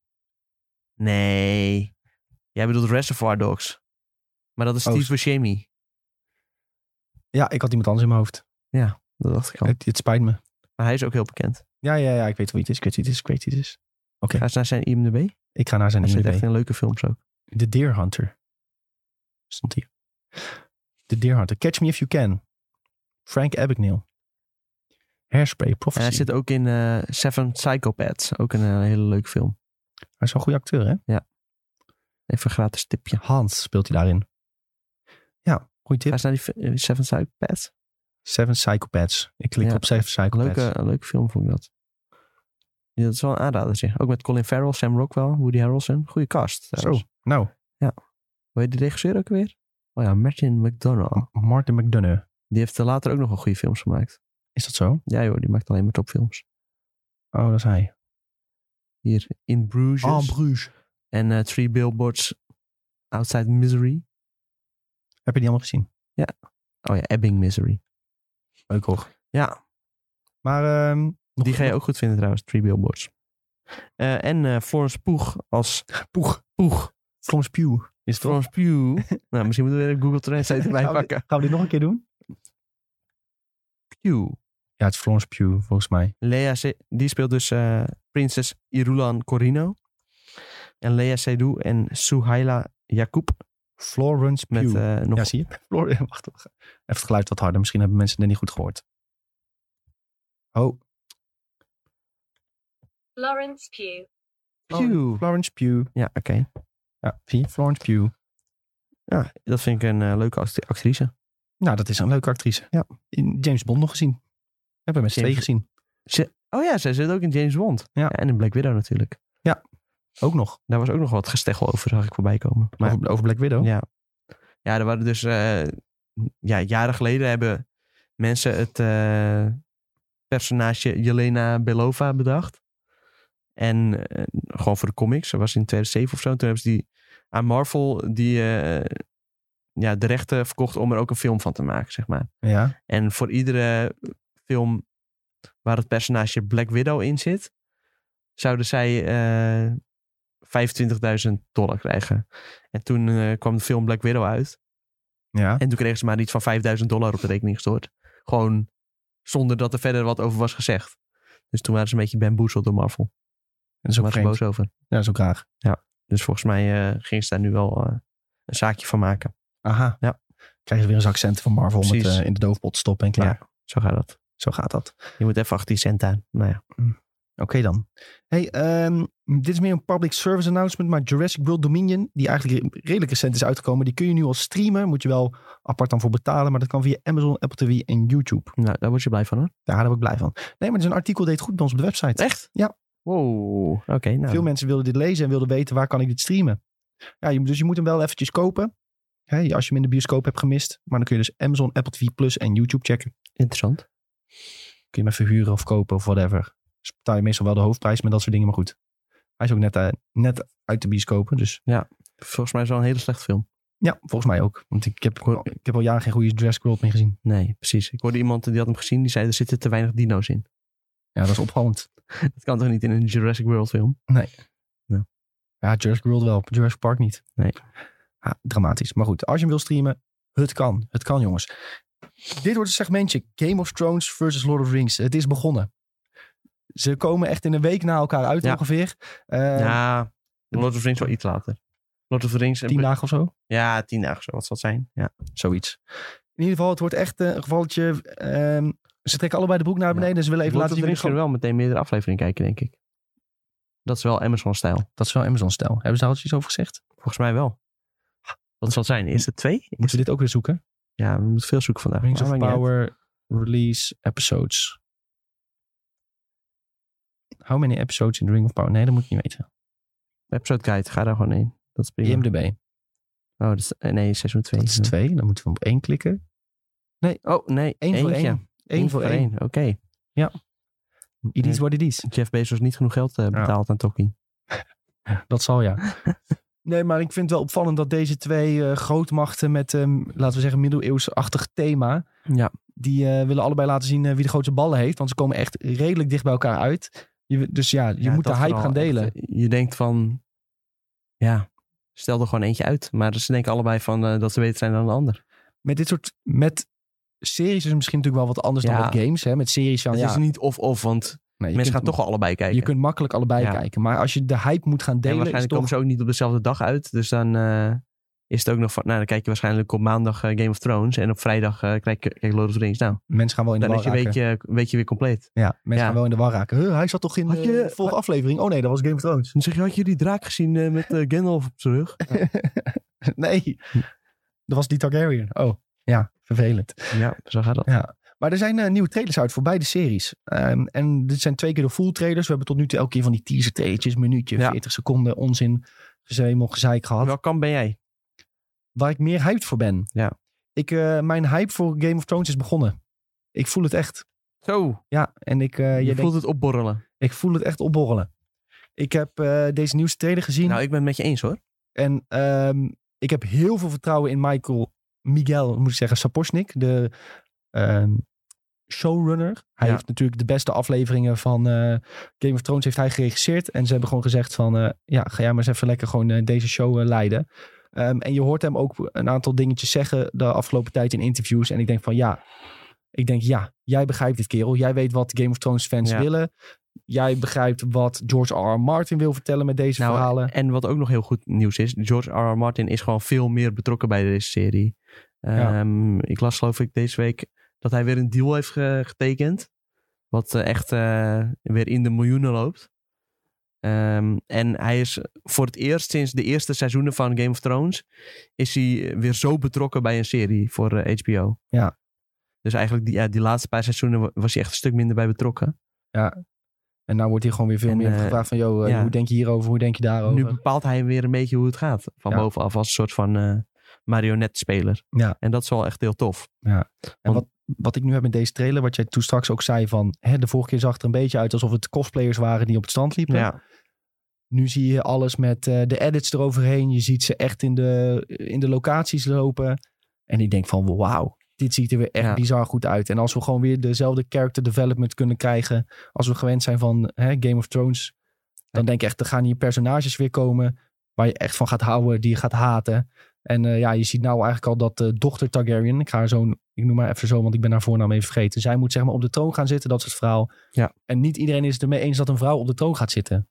Nee. Jij bedoelt Reservoir Dogs. Maar dat is
Oh,
Steve
s-
Buscemi.
Ja, ik had iemand anders in mijn hoofd.
Dat dacht ik al.
Het, het spijt me.
Maar hij is ook heel bekend.
Ja, ja, ja, ik weet wie het is. Ik weet wie het is. Ik weet wie het is.
Ga eens naar zijn IMDb.
Ik ga naar zijn
Hij zit echt
IMDb.
in leuke films ook.
The Deer Hunter. Stond hier. The Deer Hunter. Catch Me If You Can. Frank Abagnale. Hairspray,
En
Prophecy.
hij
Hij,
zit ook in eh, Seven Psychopaths. Ook een eh, hele leuke film.
is wel een goede acteur, hè?
Even een gratis tipje.
Hans speelt hij daarin. Ja, goede
Ga
tip.
eens naar die fi- eh, Seven Psychopaths.
Seven Psychopaths. Ik klik
Ja.
op Seven Psychopaths.
Leuke, een leuke film vond ik dat. Ja, dat is wel een aanrader zeg. Ook met Colin Farrell, Sam Rockwell, Woody Harrelson. Goede cast.
Zo,
trouwens.
nou,
Hoe heet de regisseur ook weer? Oh ja, Martin McDonough.
M- Martin McDonough.
Die heeft er later ook nog wel goede films gemaakt.
Is dat zo?
Ja joh, die maakt alleen maar topfilms.
Oh, dat is hij.
Hier, In Bruges.
Ah, Bruges.
en eh, Three Billboards Outside Misery.
Heb je die allemaal gezien?
Oh ja, Ebbing Misery.
Leuk hoor.
Ja,
Maar ehm, nog
die ga je ook goed vinden trouwens, Three Billboards. Eh, en eh, Florence Poeg als
Poeg.
Poeg.
Florence Pugh. Is het toch?
Florence Pugh. nou, misschien moeten we er Google Translate erbij
Gaan we dit-
pakken.
Gaan we dit nog een keer doen?
Pugh.
Ja, het is Florence Pugh volgens mij.
Lea, Se- die speelt dus eh, prinses Irulan Corino. En Lea Seydoux en Suhaila Yacoub.
Florence Pugh.
Met eh, nog
Ja, zie je? Floor, ja, wacht. wacht. Even het geluid wat harder. Misschien hebben mensen het niet goed gehoord. Oh,
Lawrence Pugh.
Pugh.
Florence Pugh.
Ja, oké.
Ja, zie je? Florence Pugh.
Ja, dat vind ik een eh, leuke act- actrice.
Nou, dat is een leuke actrice.
Ja.
In James Bond nog gezien. Hebben we met z'n
James-
tweeën gezien.
Oh ja, zij zit ook in James Bond.
Ja.
en in Black Widow natuurlijk.
Ook nog.
Daar was ook nog wat gesteggel over, zag ik voorbij komen. Maar
over, over Black Widow.
Ja. Ja, er waren dus... eh, ja, jaren geleden hebben mensen het eh, personage Jelena Belova bedacht. En eh, gewoon voor de comics. Dat was in 2007 of zo. Toen hebben ze die aan Marvel die, eh, ja, de rechten verkocht om er ook een film van te maken, zeg maar.
Ja.
En voor iedere film waar het personage Black Widow in zit, zouden zij eh, 25.000 dollar krijgen. En toen eh, kwam de film Black Widow uit.
Ja.
En toen kregen ze maar iets van 5000 dollar op de rekening gestort. Gewoon zonder dat er verder wat over was gezegd. Dus toen waren ze een beetje bamboezeld door Marvel.
Dat is
Daar
ook
waren ze
vreemd.
boos over.
Ja, dat is ook raar.
Dus volgens mij eh, gingen ze daar nu wel eh, een zaakje van maken.
Aha.
Ja.
Krijgen ze weer eens accenten van Marvel om het
Precies.
eh, in de doofpot te stoppen en klaar.
Ja. Zo gaat dat.
Zo gaat dat.
Je moet even achter die cent aan. Nou ja.
Oké dan. Hey, ehm, dit is meer een public service announcement, maar Jurassic World Dominion, die eigenlijk re- redelijk recent is uitgekomen, die kun je nu al streamen. Moet je wel apart dan voor betalen, maar dat kan via Amazon, Apple TV en YouTube.
nou, daar word je blij van hoor.
Daar ben ik blij van. Nee, maar het is een artikel deed goed bij ons op de website.
Echt?
Ja.
Wow. Oké, nou.
Veel mensen wilden dit lezen en wilden weten waar kan ik dit streamen. Ja, je- dus je moet hem wel eventjes kopen. Hè, als je hem in de bioscoop hebt gemist. Maar dan kun je dus Amazon, Apple TV Plus en YouTube checken.
Interessant.
Kun je hem even huren of kopen of whatever. Dus betaal je meestal wel de hoofdprijs met dat soort dingen. Maar goed, hij is ook net, eh, net uit de bioscopen. Dus
Volgens mij is het wel een hele slechte film.
ja, volgens mij ook. Want ik heb, al- ik heb al jaren geen goede Jurassic World meer gezien.
Nee, precies. Ik hoorde iemand die had hem gezien, die zei er zitten te weinig dino's in.
Ja, dat is opvallend.
Dat kan toch niet in een Jurassic World film?
Ja, Jurassic World wel, Jurassic Park niet.
Nee.
Ja, dramatisch. Maar goed, als je hem wil streamen, het kan. Het kan, jongens. Dit wordt het segmentje Game of Thrones versus Lord of the Rings. Het is begonnen. Ze komen echt in een week na elkaar uit
Ja.
ongeveer. Eh,
ja, Lord of the Rings wel iets later. Lord of the Rings...
Tien dagen of zo.
Ja, tien dagen zo, wat zal het zijn. Ja.
Zoiets. In ieder geval, het wordt echt eh, een gevalletje. ehm, ze trekken allebei de broek naar
Ja.
beneden. en Ze willen even
Lord
laten
of the
zien.
Rings kunnen wel meteen meerdere afleveringen kijken, denk ik. Dat is wel Amazon-stijl.
Dat is wel Amazon-stijl. Hebben ze daar al iets over gezegd?
Volgens mij wel. Wat zal het zijn? Is het twee? Is
Moeten
het-
we dit ook weer zoeken?
Ja, we moeten veel zoeken vandaag.
Rings
maar
of
maakt niet uit.
Power release episodes. How many episodes in Ring of Power? Nee, dat moet ik niet weten.
Episode Guide, ga daar gewoon in. Dat is prima.
IMDb.
Oh, dat is, eh, nee, seizoen 2.
Dat is twee. Dan moeten we op één klikken.
Oh, nee.
Eén voor
eentje.
één.
Eén
Eén voor één.
Oké.
Ja. It
Nee,
is what it is.
Jeff Bezos niet genoeg geld eh, betaald aan Tokkie.
Dat zal ja. nee, maar ik vind het wel opvallend dat deze twee eh, grootmachten met, ehm, laten we zeggen, middeleeuwsachtig thema.
Ja.
Die eh, willen allebei laten zien eh, wie de grootste ballen heeft. Want ze komen echt redelijk dicht bij elkaar uit. Je, dus ja, je
Ja,
moet de
dat
hype
vooral
gaan
echt,
delen.
eh, je denkt van, ja, stel er gewoon eentje uit. Maar ze denken allebei van eh, dat ze beter zijn dan de ander.
Met dit soort, met series is het misschien natuurlijk wel wat anders
Ja.
dan met games. Hè? Met series van,
Dus het
ja,
is niet of-of, want
nee, je
mensen
kunt-
gaan toch wel allebei kijken.
Je kunt makkelijk allebei
Ja.
kijken. Maar als je de hype moet gaan
en
delen, is
waarschijnlijk
toch...
komen ze ook niet op dezelfde dag uit. Dus dan eh, is het ook nog van, nou dan kijk je waarschijnlijk op maandag eh, Game of Thrones. En op vrijdag eh, kijk, je- kijk Lord of the Rings. Nou,
mensen gaan wel in de
dan
war
is je een
raken.
beetje, een beetje weer compleet.
Ja, mensen
Ja.
gaan wel in de war raken. Huh, hij zat toch in
Had je-
de vorige aflevering? Oh nee, dat was Game of Thrones.
Dan zeg je, had je die draak gezien eh, met eh, Gandalf op zijn rug?
nee, dat was die Targaryen. Oh, ja, vervelend.
Ja, zo gaat dat.
Maar er zijn eh, nieuwe trailers uit voor beide series. Ehm, en dit zijn twee keer de full trailers. We hebben tot nu toe elke keer van die teaser trailertjes, minuutje,
Ja.
40 seconden, onzin, gezemel, gezeik gehad.
Welk kamp ben jij?
Waar ik meer hyped voor ben.
Ja.
Ik, eh, mijn hype voor Game of Thrones is begonnen. Ik voel het echt.
Zo,
Ja, en ik, eh,
je,
je
voelt
denkt,
het opborrelen.
ik voel het echt opborrelen. Ik heb eh, deze nieuwste trailer gezien.
Nou, ik ben het met je eens hoor.
En ehm, ik heb heel veel vertrouwen in Michael, Miguel, moet ik zeggen, Sapochnik, de ehm, showrunner. Hij
Ja.
heeft natuurlijk de beste afleveringen van eh, Game of Thrones heeft hij geregisseerd. En ze hebben gewoon gezegd van, eh, ja, ga jij maar eens even lekker gewoon eh, deze show eh, leiden. Ehm, en je hoort hem ook een aantal dingetjes zeggen de afgelopen tijd in interviews. En ik denk van, ja, ik denk ja, jij begrijpt dit kerel. Jij weet wat Game of Thrones fans
Ja.
willen. Jij begrijpt wat George R. R. Martin wil vertellen met deze
Nou,
verhalen.
En wat ook nog heel goed nieuws is, George R. R. Martin is gewoon veel meer betrokken bij deze serie.
Ja.
Ehm, Ik las geloof ik deze week dat hij weer een deal heeft ge- getekend. Wat eh, echt eh, weer in de miljoenen loopt. Ehm, en hij is voor het eerst sinds de eerste seizoenen van Game of Thrones... is hij weer zo betrokken bij een serie voor eh, HBO.
Ja.
Dus eigenlijk die, ja, die laatste paar seizoenen wa- was hij echt een stuk minder bij betrokken.
En nou wordt hier gewoon weer veel
En,
meer
eh,
gevraagd van... joh, eh,
ja.
hoe denk je hierover, hoe denk je daarover?
Nu bepaalt hij weer een beetje hoe het gaat. Van
Ja.
bovenaf als een soort van eh marionetspeler.
Ja.
En dat is wel echt heel tof.
en
want-
wat, wat ik nu heb met deze trailer, wat jij toen straks ook zei van... Hè, de vorige keer zag het er een beetje uit alsof het cosplayers waren die op het strand liepen.
Ja.
Nu zie je alles met eh, de edits eroverheen. Je ziet ze echt in de, in de locaties lopen. En ik denk van wauw, dit ziet er weer echt
Ja.
bizar goed uit. En als we gewoon weer dezelfde character development kunnen krijgen... als we gewend zijn van hè, Game of Thrones... dan denk ik echt, er gaan hier personages weer komen... waar je echt van gaat houden, die je gaat haten. En eh, ja, je ziet nou eigenlijk al dat eh, dochter Targaryen... ik ga haar zo'n, ik noem maar even zo, want ik ben haar voornaam even vergeten... zij moet zeg maar op de troon gaan zitten, dat is het verhaal.
Ja.
En niet iedereen is het ermee eens dat een vrouw op de troon gaat zitten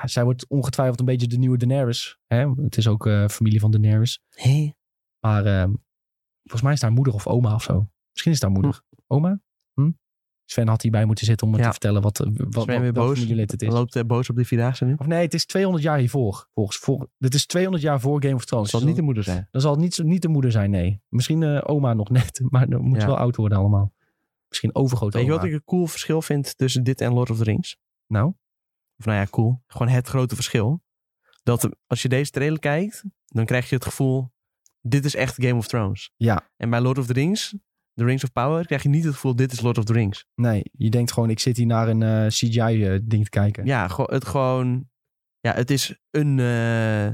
ja, zij wordt ongetwijfeld een beetje de nieuwe Daenerys. Hè? Het is ook eh, familie van Daenerys. Maar eh, volgens mij is het haar moeder of oma of zo. Misschien is het haar moeder. Oma? Hm? Sven had hierbij moeten zitten om me
Ja.
te vertellen wat, wat, wat,
weer
welk
boos.
familielid het is.
Loopt eh, boos op die vierdaagse nu?
Of nee, het is 200 jaar hiervoor. Volgens, voor, dit is 200 jaar voor Game of Thrones.
Zal
Dus
niet de moeder zijn.
dan zal het niet, zo- niet de moeder zijn, nee. Misschien eh, oma nog net, maar dan moet ze
Ja.
wel oud worden allemaal. Misschien overgroot
Weet je
oma.
wat ik een cool verschil vind tussen dit en Lord of the Rings?
Nou?
Of nou ja, cool. Gewoon het grote verschil. Dat eh, als je deze trailer kijkt, dan krijg je het gevoel... dit is echt Game of Thrones.
Ja.
En bij Lord of the Rings, The Rings of Power, krijg je niet het gevoel, dit is Lord of the Rings.
Nee, je denkt gewoon, ik zit hier naar een eh, CGI-ding te kijken.
Ja, gewoon- het gewoon, ja, het is een, eh,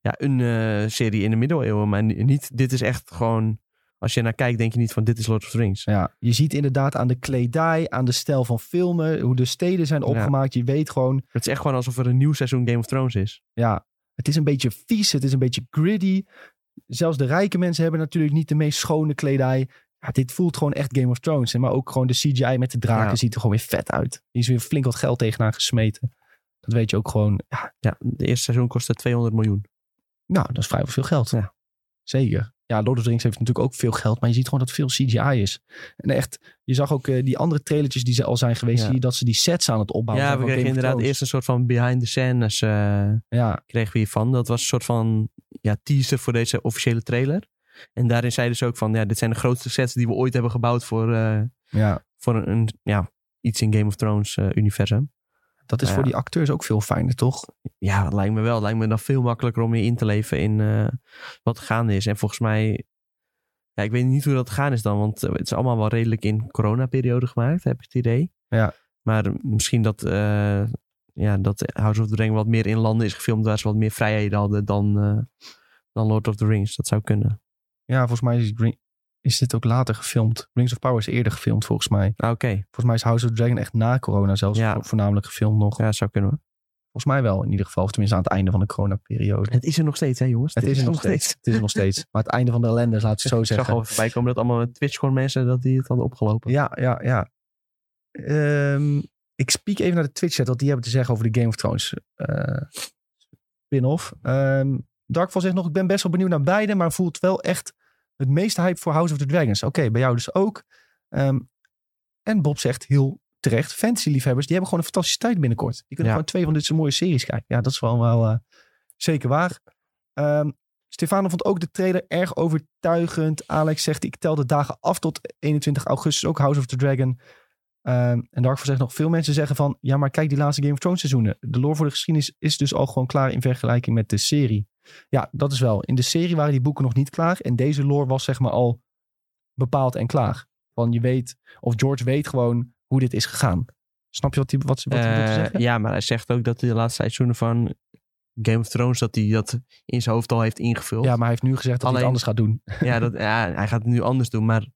ja, een eh, serie in de middeleeuwen, maar ni- niet, dit is echt gewoon, als je naar kijkt, denk je niet van, dit is Lord of the Rings.
Ja, je ziet inderdaad aan de kledij, aan de stijl van filmen, hoe de steden zijn opgemaakt. Je weet gewoon,
Het is echt gewoon alsof er een nieuw seizoen Game of Thrones is.
ja, het is een beetje vies, het is een beetje gritty. Zelfs de rijke mensen hebben natuurlijk niet de meest schone kledij. Ja, dit voelt gewoon echt Game of Thrones. hè, Maar ook gewoon de CGI met de draken
Ja.
ziet er gewoon weer vet uit. Die is weer flink wat geld tegenaan gesmeten. Dat weet je ook gewoon. Ja,
Ja, de eerste seizoen kostte 200 miljoen.
nou, dat is vrijwel veel geld. Zeker. Ja, Lord of the Rings heeft natuurlijk ook veel geld, maar je ziet gewoon dat veel CGI is. En echt, je zag ook eh, die andere trailertjes die ze al zijn geweest,
Ja.
zie je dat ze die sets aan het opbouwen
ja,
zijn
we
van
kregen
Game of
inderdaad
Thrones.
eerst een soort van behind the scenes eh,
Ja,
kregen we hiervan. Dat was een soort van ja, teaser voor deze officiële trailer. En daarin zeiden ze ook van, ja, dit zijn de grootste sets die we ooit hebben gebouwd voor, eh,
ja,
voor een, een- ja, iets in Game of Thrones eh, universum.
dat is
Ja.
voor die acteurs ook veel fijner, toch?
Ja, dat lijkt me wel. Het lijkt me dan veel makkelijker om je in te leven in eh, wat gaande is. En volgens mij, ja, ik weet niet hoe dat gaan is dan, want eh, het is allemaal wel redelijk in coronaperiode gemaakt, heb ik het idee.
Ja.
Maar misschien dat, eh, ja, dat House of the Ring wat meer in landen is gefilmd waar ze wat meer vrijheden hadden dan, eh, dan Lord of the Rings. Dat zou kunnen.
Ja, volgens mij is, Green- is dit ook later gefilmd. Rings of Power is eerder gefilmd, volgens mij.
Ah, Oké,
Volgens mij is House of the Dragon echt na corona zelfs
Ja.
vo- voornamelijk gefilmd nog.
ja, dat zou kunnen. hoor.
Volgens mij wel, in ieder geval. Of tenminste aan het einde van de coronaperiode.
Het is er nog steeds, hè jongens?
Het
Dit
is er nog steeds. Het is er nog steeds. Maar het einde van de ellende, laat ik het zo
Ik zag
zeggen.
al voorbij komen dat allemaal Twitch-core mensen dat die het hadden opgelopen.
Ja, ja, ja. Ehm, ik spiek even naar de Twitch-chat, wat die hebben te zeggen over de Game of Thrones eh spin-off. Ehm, Darkval zegt nog, ik ben best wel benieuwd naar beide, maar voelt wel echt het meeste hype voor House of the Dragons. Oké, bij jou dus ook. Ehm, en Bob zegt heel terecht, fantasy-liefhebbers, die hebben gewoon een fantastische tijd binnenkort. Die kunnen
Ja.
gewoon twee van dit soort mooie series kijken. Ja, dat is wel, wel eh, zeker waar. Ehm, Stefano vond ook de trailer erg overtuigend. Alex zegt, ik tel de dagen af tot 21 augustus, ook House of the Dragon. Ehm, en Darkfall zegt nog, veel mensen zeggen van, ja, maar kijk die laatste Game of Thrones seizoenen. De lore voor de geschiedenis is dus al gewoon klaar in vergelijking met de serie. Ja, dat is wel. In de serie waren die boeken nog niet klaar en deze lore was zeg maar al bepaald en klaar. Van je weet, of George weet gewoon hoe dit is gegaan. Snap je wat hij wat, ze- wat hij bedoelt te
Eh,
zeggen?
ja, maar hij zegt ook dat hij de laatste seizoenen van Game of Thrones dat hij dat in zijn hoofd al heeft ingevuld.
Ja,
Ja,
maar hij heeft nu gezegd dat hij
Alleen-
het anders gaat doen.
dat, ja hij gaat het nu anders doen. Maar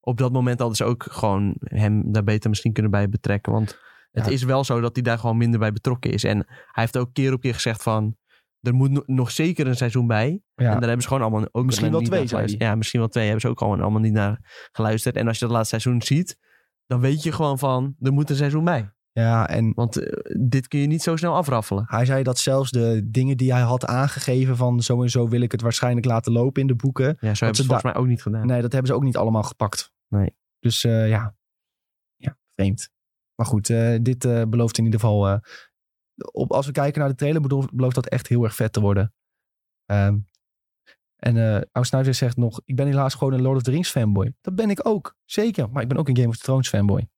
op dat moment hadden ze ook gewoon hem daar beter misschien kunnen bij betrekken. Want het
Ja.
is wel zo dat hij daar gewoon minder bij betrokken is. En hij heeft ook keer op keer gezegd van... Er moet no- nog zeker een seizoen bij. En
Ja,
daar hebben ze gewoon allemaal ook
Misschien
niet
wel
naar
twee, zei
geluisterd. Ja, misschien wel twee. Hebben ze ook gewoon allemaal niet naar geluisterd. En als je dat laatste seizoen ziet, dan weet je gewoon van... Er moet een seizoen bij.
ja en
Want eh, dit kun je niet zo snel afraffelen.
Hij zei dat zelfs de dingen die hij had aangegeven van zo en zo wil ik het waarschijnlijk laten lopen in de boeken.
Ja, zo hebben ze
ze
het volgens mij ook niet gedaan.
Nee, dat hebben ze ook niet allemaal gepakt.
Nee.
Dus eh, ja. ja, vreemd. Maar goed, eh, dit eh, belooft in ieder geval... eh, op, als we kijken naar de trailer, bedoel- belooft dat echt heel erg vet te worden. Ehm, en eh Oud Snuiter zegt nog... Ik ben helaas gewoon een Lord of the Rings fanboy. Dat ben ik ook, zeker. Maar ik ben ook een Game of Thrones fanboy.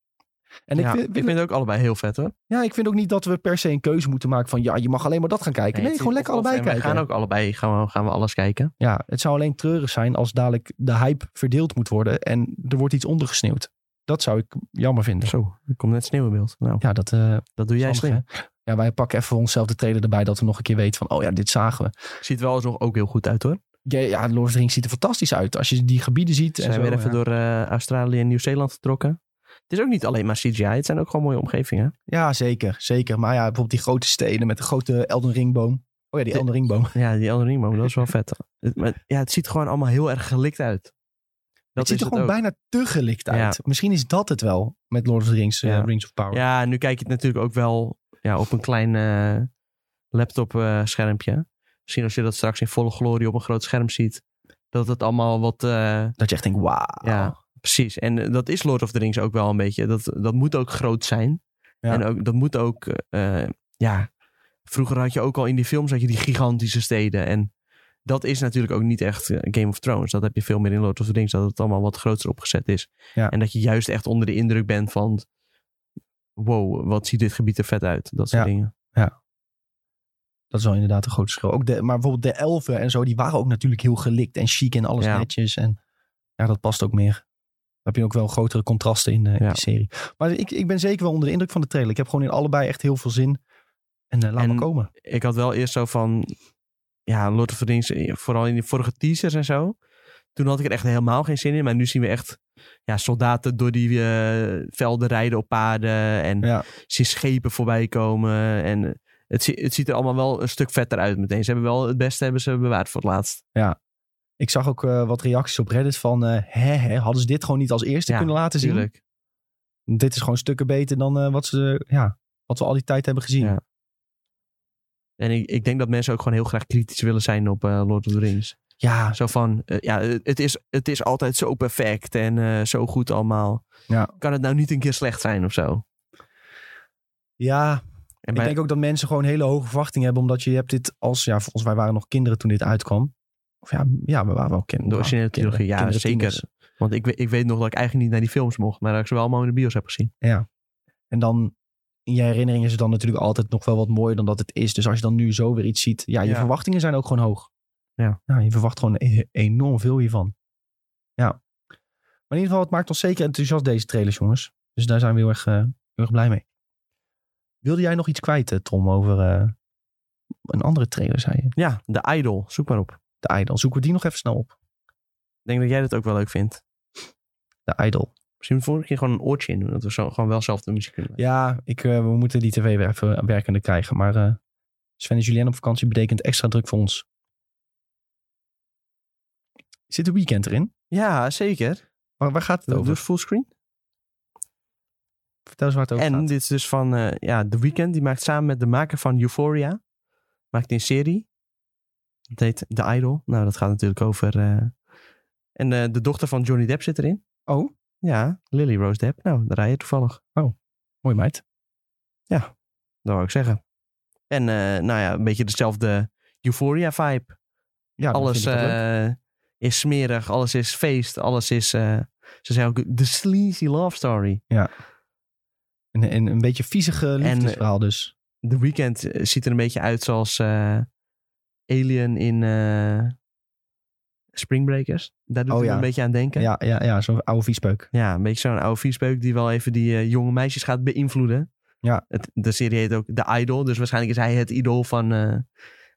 En
Ja,
ik, vind,
ik vind het ook allebei heel vet hoor.
ja, ik vind ook niet dat we per se een keuze moeten maken van... ja, je mag alleen maar dat gaan kijken. Nee,
het-
gewoon lekker
of- of-
allebei
en
kijken.
We gaan ook allebei, gaan we, gaan we alles kijken.
Ja, het zou alleen treurig zijn als dadelijk de hype verdeeld moet worden en er wordt iets ondergesneeuwd. Dat zou ik jammer vinden.
Zo, er komt net sneeuw in beeld. Nou,
Ja, dat, eh,
dat doe jij
is handig,
slim.
hè? Ja, wij pakken even voor onszelf de trailer erbij dat we nog een keer weten van, oh ja, dit zagen we.
Ziet wel alsnog ook heel goed uit hoor.
Ja, ja Lord of the Rings ziet er fantastisch uit. Als je die gebieden ziet.
Ze
en
zijn
zo,
weer even
ja.
door eh, Australië en Nieuw-Zeeland getrokken. Het is ook niet alleen maar CGI, het zijn ook gewoon mooie omgevingen.
Ja, zeker, zeker. Maar ja, bijvoorbeeld die grote steden met de grote Elden Ringboom. Oh ja, die
De-
Elden Ringboom.
Ja, die Elden Ring, maar dat is wel vet. Het, maar, ja, het ziet gewoon allemaal heel erg gelikt uit.
Dat
Dat
ziet
is
er gewoon
het ook.
bijna te gelikt uit. Misschien is dat het wel met Lord of the Rings, eh,
Ja.
Rings of Power.
Ja, nu kijk je het natuurlijk ook wel ja, op een klein eh, laptop eh, schermpje. Misschien als je dat straks in volle glorie op een groot scherm ziet. Dat het allemaal wat... eh,
Dat je echt denkt, wauw.
Ja, precies. En eh, dat is Lord of the Rings ook wel een beetje. Dat, dat moet ook groot zijn.
Ja.
En ook, dat moet ook, eh, eh, ja. Vroeger had je ook al in die films had je die gigantische steden. En dat is natuurlijk ook niet echt eh, Game of Thrones. Dat heb je veel meer in Lord of the Rings. Dat het allemaal wat groter opgezet is.
Ja.
En dat je juist echt onder de indruk bent van... Wow, wat ziet dit gebied er vet uit. Dat soort
Ja.
dingen.
Dat is wel inderdaad een groot verschil. Ook de, maar bijvoorbeeld de elfen en zo, die waren ook natuurlijk heel gelikt en chic en alles
Ja.
netjes. En ja, dat past ook meer. Daar heb je ook wel grotere contrasten in, eh, in
Ja.
die serie. Maar ik, ik ben zeker wel onder de indruk van de trailer. Ik heb gewoon in allebei echt heel veel zin. En eh, laat
En-
maar komen.
ik had wel eerst zo van... Ja, Lord of the Rings, eh, vooral in die vorige teasers en zo. Toen had ik er echt helemaal geen zin in. Maar nu zien we echt ja, soldaten door die eh, velden rijden op paarden. En
Ja.
zie schepen voorbij komen. En eh, het, zie- het ziet er allemaal wel een stuk vetter uit meteen. Ze hebben wel het beste hebben ze bewaard voor het laatst.
Ik zag ook eh, wat reacties op Reddit van... eh, hè, hè, hadden ze dit gewoon niet als eerste
Ja,
kunnen laten zien?
Natuurlijk.
Dit is gewoon stukken beter dan eh, wat, ze, ja, wat we al die tijd hebben gezien.
Ja. En ik, ik denk dat mensen ook gewoon heel graag kritisch willen zijn op eh, Lord of the Rings.
ja,
Zo van, eh, ja, eh, het is, het is altijd zo perfect en eh, zo goed allemaal.
Ja.
Kan het nou niet een keer slecht zijn of zo?
ja,
En
ik
bij-
denk ook dat mensen gewoon hele hoge verwachtingen hebben. Omdat je hebt dit als... Ja, volgens mij waren nog kinderen toen dit uitkwam. Of ja, ja we waren wel kinderen.
de originele trilogie, ja
kinderen,
zeker.
tieners.
Want ik, we- ik weet nog dat ik eigenlijk niet naar die films mocht. Maar dat ik ze wel allemaal in de bios heb gezien.
En dan in je herinnering is het dan natuurlijk altijd nog wel wat mooier dan dat het is. Dus als je dan nu zo weer iets ziet, ja, je
Ja.
verwachtingen zijn ook gewoon hoog.
Ja.
Nou, je verwacht gewoon e- enorm veel hiervan. Ja. Maar in ieder geval, het maakt ons zeker enthousiast deze trailers, jongens. Dus daar zijn we heel erg, eh, heel erg blij mee. Wilde jij nog iets kwijt, eh, Tom, over eh, een andere trailer, zei je?
Ja, The Idol. Zoek maar op. Ik
De Idol. Zoeken we die nog even snel op.
denk dat jij dat ook wel leuk vindt.
De Idol.
Misschien moet ik hier gewoon een oortje in doen. Dat we zo, gewoon wel zelf de muziek kunnen maken.
Ja, ik, eh, we moeten die tv weer even werkende krijgen. Maar eh, Sven en Julien op vakantie betekent extra druk voor ons. Zit een weekend erin?
Ja, zeker.
Waar, waar gaat het
Doe
over?
eens fullscreen.
Vertel eens waar het over
En
gaat.
dit is dus van eh, ja, The Weeknd. Die maakt samen met de maker van Euphoria. Maakt een serie. Het heet The Idol. Nou, dat gaat natuurlijk over... eh, En eh, de dochter van Johnny Depp zit erin.
Oh,
Ja, Lily Rose Depp. Nou, daar rij je toevallig.
mooi meid.
Dat wou ik zeggen. En eh, nou ja, een beetje dezelfde Euphoria-vibe.
Ja, dan
alles
vind ik dat leuk.
eh, is smerig, alles is feest, alles is... eh, ze zei ook, de sleazy love story.
En, en een beetje viezige liefdesverhaal dus.
The Weeknd eh, ziet er een beetje uit zoals eh, Alien in eh, Spring Breakers. Daar doet
Oh
hij
ja.
me een beetje aan denken.
Ja, ja, ja zo'n oude viespeuk.
Ja, een beetje zo'n oude viespeuk die wel even die eh, jonge meisjes gaat beïnvloeden.
Ja.
Het, de serie heet ook The Idol, dus waarschijnlijk is hij het idool van eh,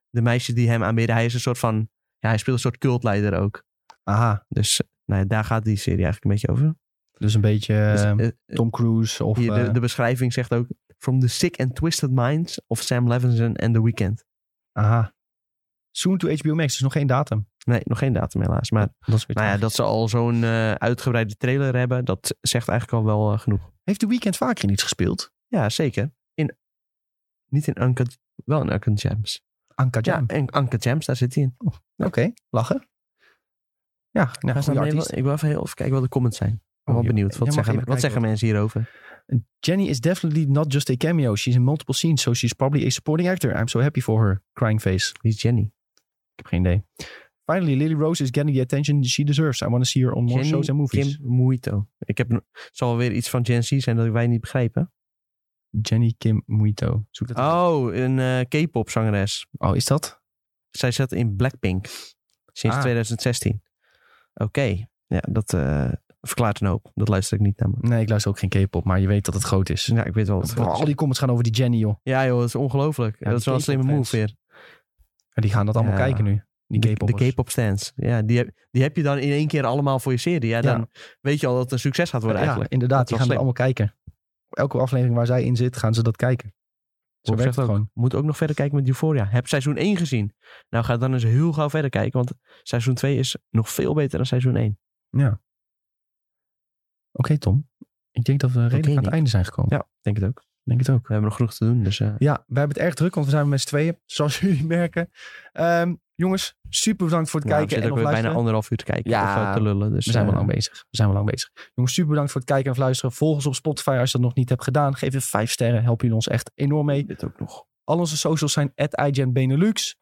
de meisjes die hem aanbidden. Hij is een soort van, ja, hij speelt een soort cultleider ook.
Aha,
Dus eh, nou ja, daar gaat die serie eigenlijk een beetje over.
dus een beetje
Dus,
eh,
eh,
Tom Cruise of...
hier, de,
eh,
de beschrijving zegt ook, from the sick and twisted minds of Sam Levinson and The Weeknd.
aha. Soon to HBO Max, dus nog geen datum.
Nee, nog geen datum helaas, maar
Dat is weer
nou ja,
tragisch.
dat ze al zo'n eh, uitgebreide trailer hebben, dat zegt eigenlijk al wel eh, genoeg.
Heeft de weekend vaker in iets gespeeld?
Ja, zeker. In, niet in Uncut, wel in Uncut Gems.
Anka Jam.
Ja, en Anke Jams, daar zit hij in.
Oké, lachen. Ja, nou,
Ga
goede
staan
artiest.
even, ik wil even, heel, even kijken wat de comments zijn. Ik ben
Oh,
wel
je-
benieuwd.
jij
Wat,
mag
zeggen,
even
wat zeggen
kijken
mensen hierover?
Jenny is definitely not just a cameo. She's in multiple scenes, so she's probably a supporting actor. I'm so happy for her. Crying face.
Wie is Jenny?
Ik heb geen idee. Finally, Lily Rose is getting the attention she deserves. I want to see her on more
Jenny
shows and movies.
Kim Muito. Ik heb, een- het zal weer iets van Gen Z zijn dat wij niet begrijpen.
Jenny Kim Muito. Zoek dat eens
Oh, een eh, K-pop zangeres.
op. Oh, is dat?
Zij zat in Blackpink. Sinds
Ah.
2016. Oké. Ja, dat eh, verklaart een hoop. Dat luister ik niet naar. me. Dus,
Nee, ik luister ook geen K-pop, maar je weet dat het groot is.
Ja, ik weet wel. Wat
Bro, al die comments gaan over die Jenny, joh.
Ja joh, dat is ongelooflijk.
Ja,
dat is
die
wel een slimme move
K-pop-fans.
weer.
Ja, die gaan dat allemaal
Ja.
kijken nu. Die
De-
K-pop.
De K-pop stands. Ja, die heb, die heb je dan in één keer allemaal voor je serie. Ja, dan weet je al dat het een succes gaat worden
Ja,
eigenlijk.
inderdaad. Die
Dat
gaan
is
dat
wel
allemaal kijken. Elke aflevering waar zij in zit, gaan ze dat kijken. Zo
Bob
werkt
zegt
het
ook,
gewoon.
Moet ook nog verder kijken met Euphoria. Heb seizoen 1 gezien. Nou, ga dan eens heel gauw verder kijken. Want seizoen 2 is nog veel beter dan seizoen 1.
Oké, Tom. Ik denk dat we redelijk aan het
Nick.
einde zijn gekomen.
Ja, ik denk het ook.
Ik denk het ook.
We hebben nog genoeg te doen. Dus eh,
Ja, we hebben het erg druk, want we zijn met z'n tweeën, zoals jullie merken. Ehm, jongens, super bedankt voor het
nou, we
kijken
zitten
en
ook
of
weer bijna
luisteren.
anderhalf uur te kijken.
Ja,
of, eh, te lullen. Dus,
We zijn wel
eh,
lang bezig. We zijn wel lang bezig. Jongens, super bedankt voor het kijken en of luisteren. Volg ons op Spotify als je dat nog niet hebt gedaan. Geef het vijf sterren. Help jullie ons echt enorm mee.
Dit ook nog.
Al onze socials zijn at Benelux.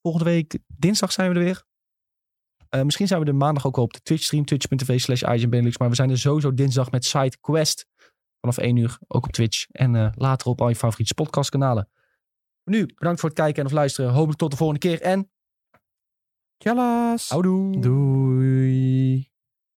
Volgende week, dinsdag zijn we er weer. Eh, misschien zijn we er maandag ook al op de Twitch stream. Twitch.tv slash Benelux. Maar we zijn er sowieso dinsdag met Side Quest. Vanaf 1 uur, ook op Twitch. En eh, later op al je favoriete podcastkanalen. Voor Nu, bedankt voor het kijken en of luisteren. Hopelijk tot de volgende keer en
Tjallas.
houdoe.
Doei.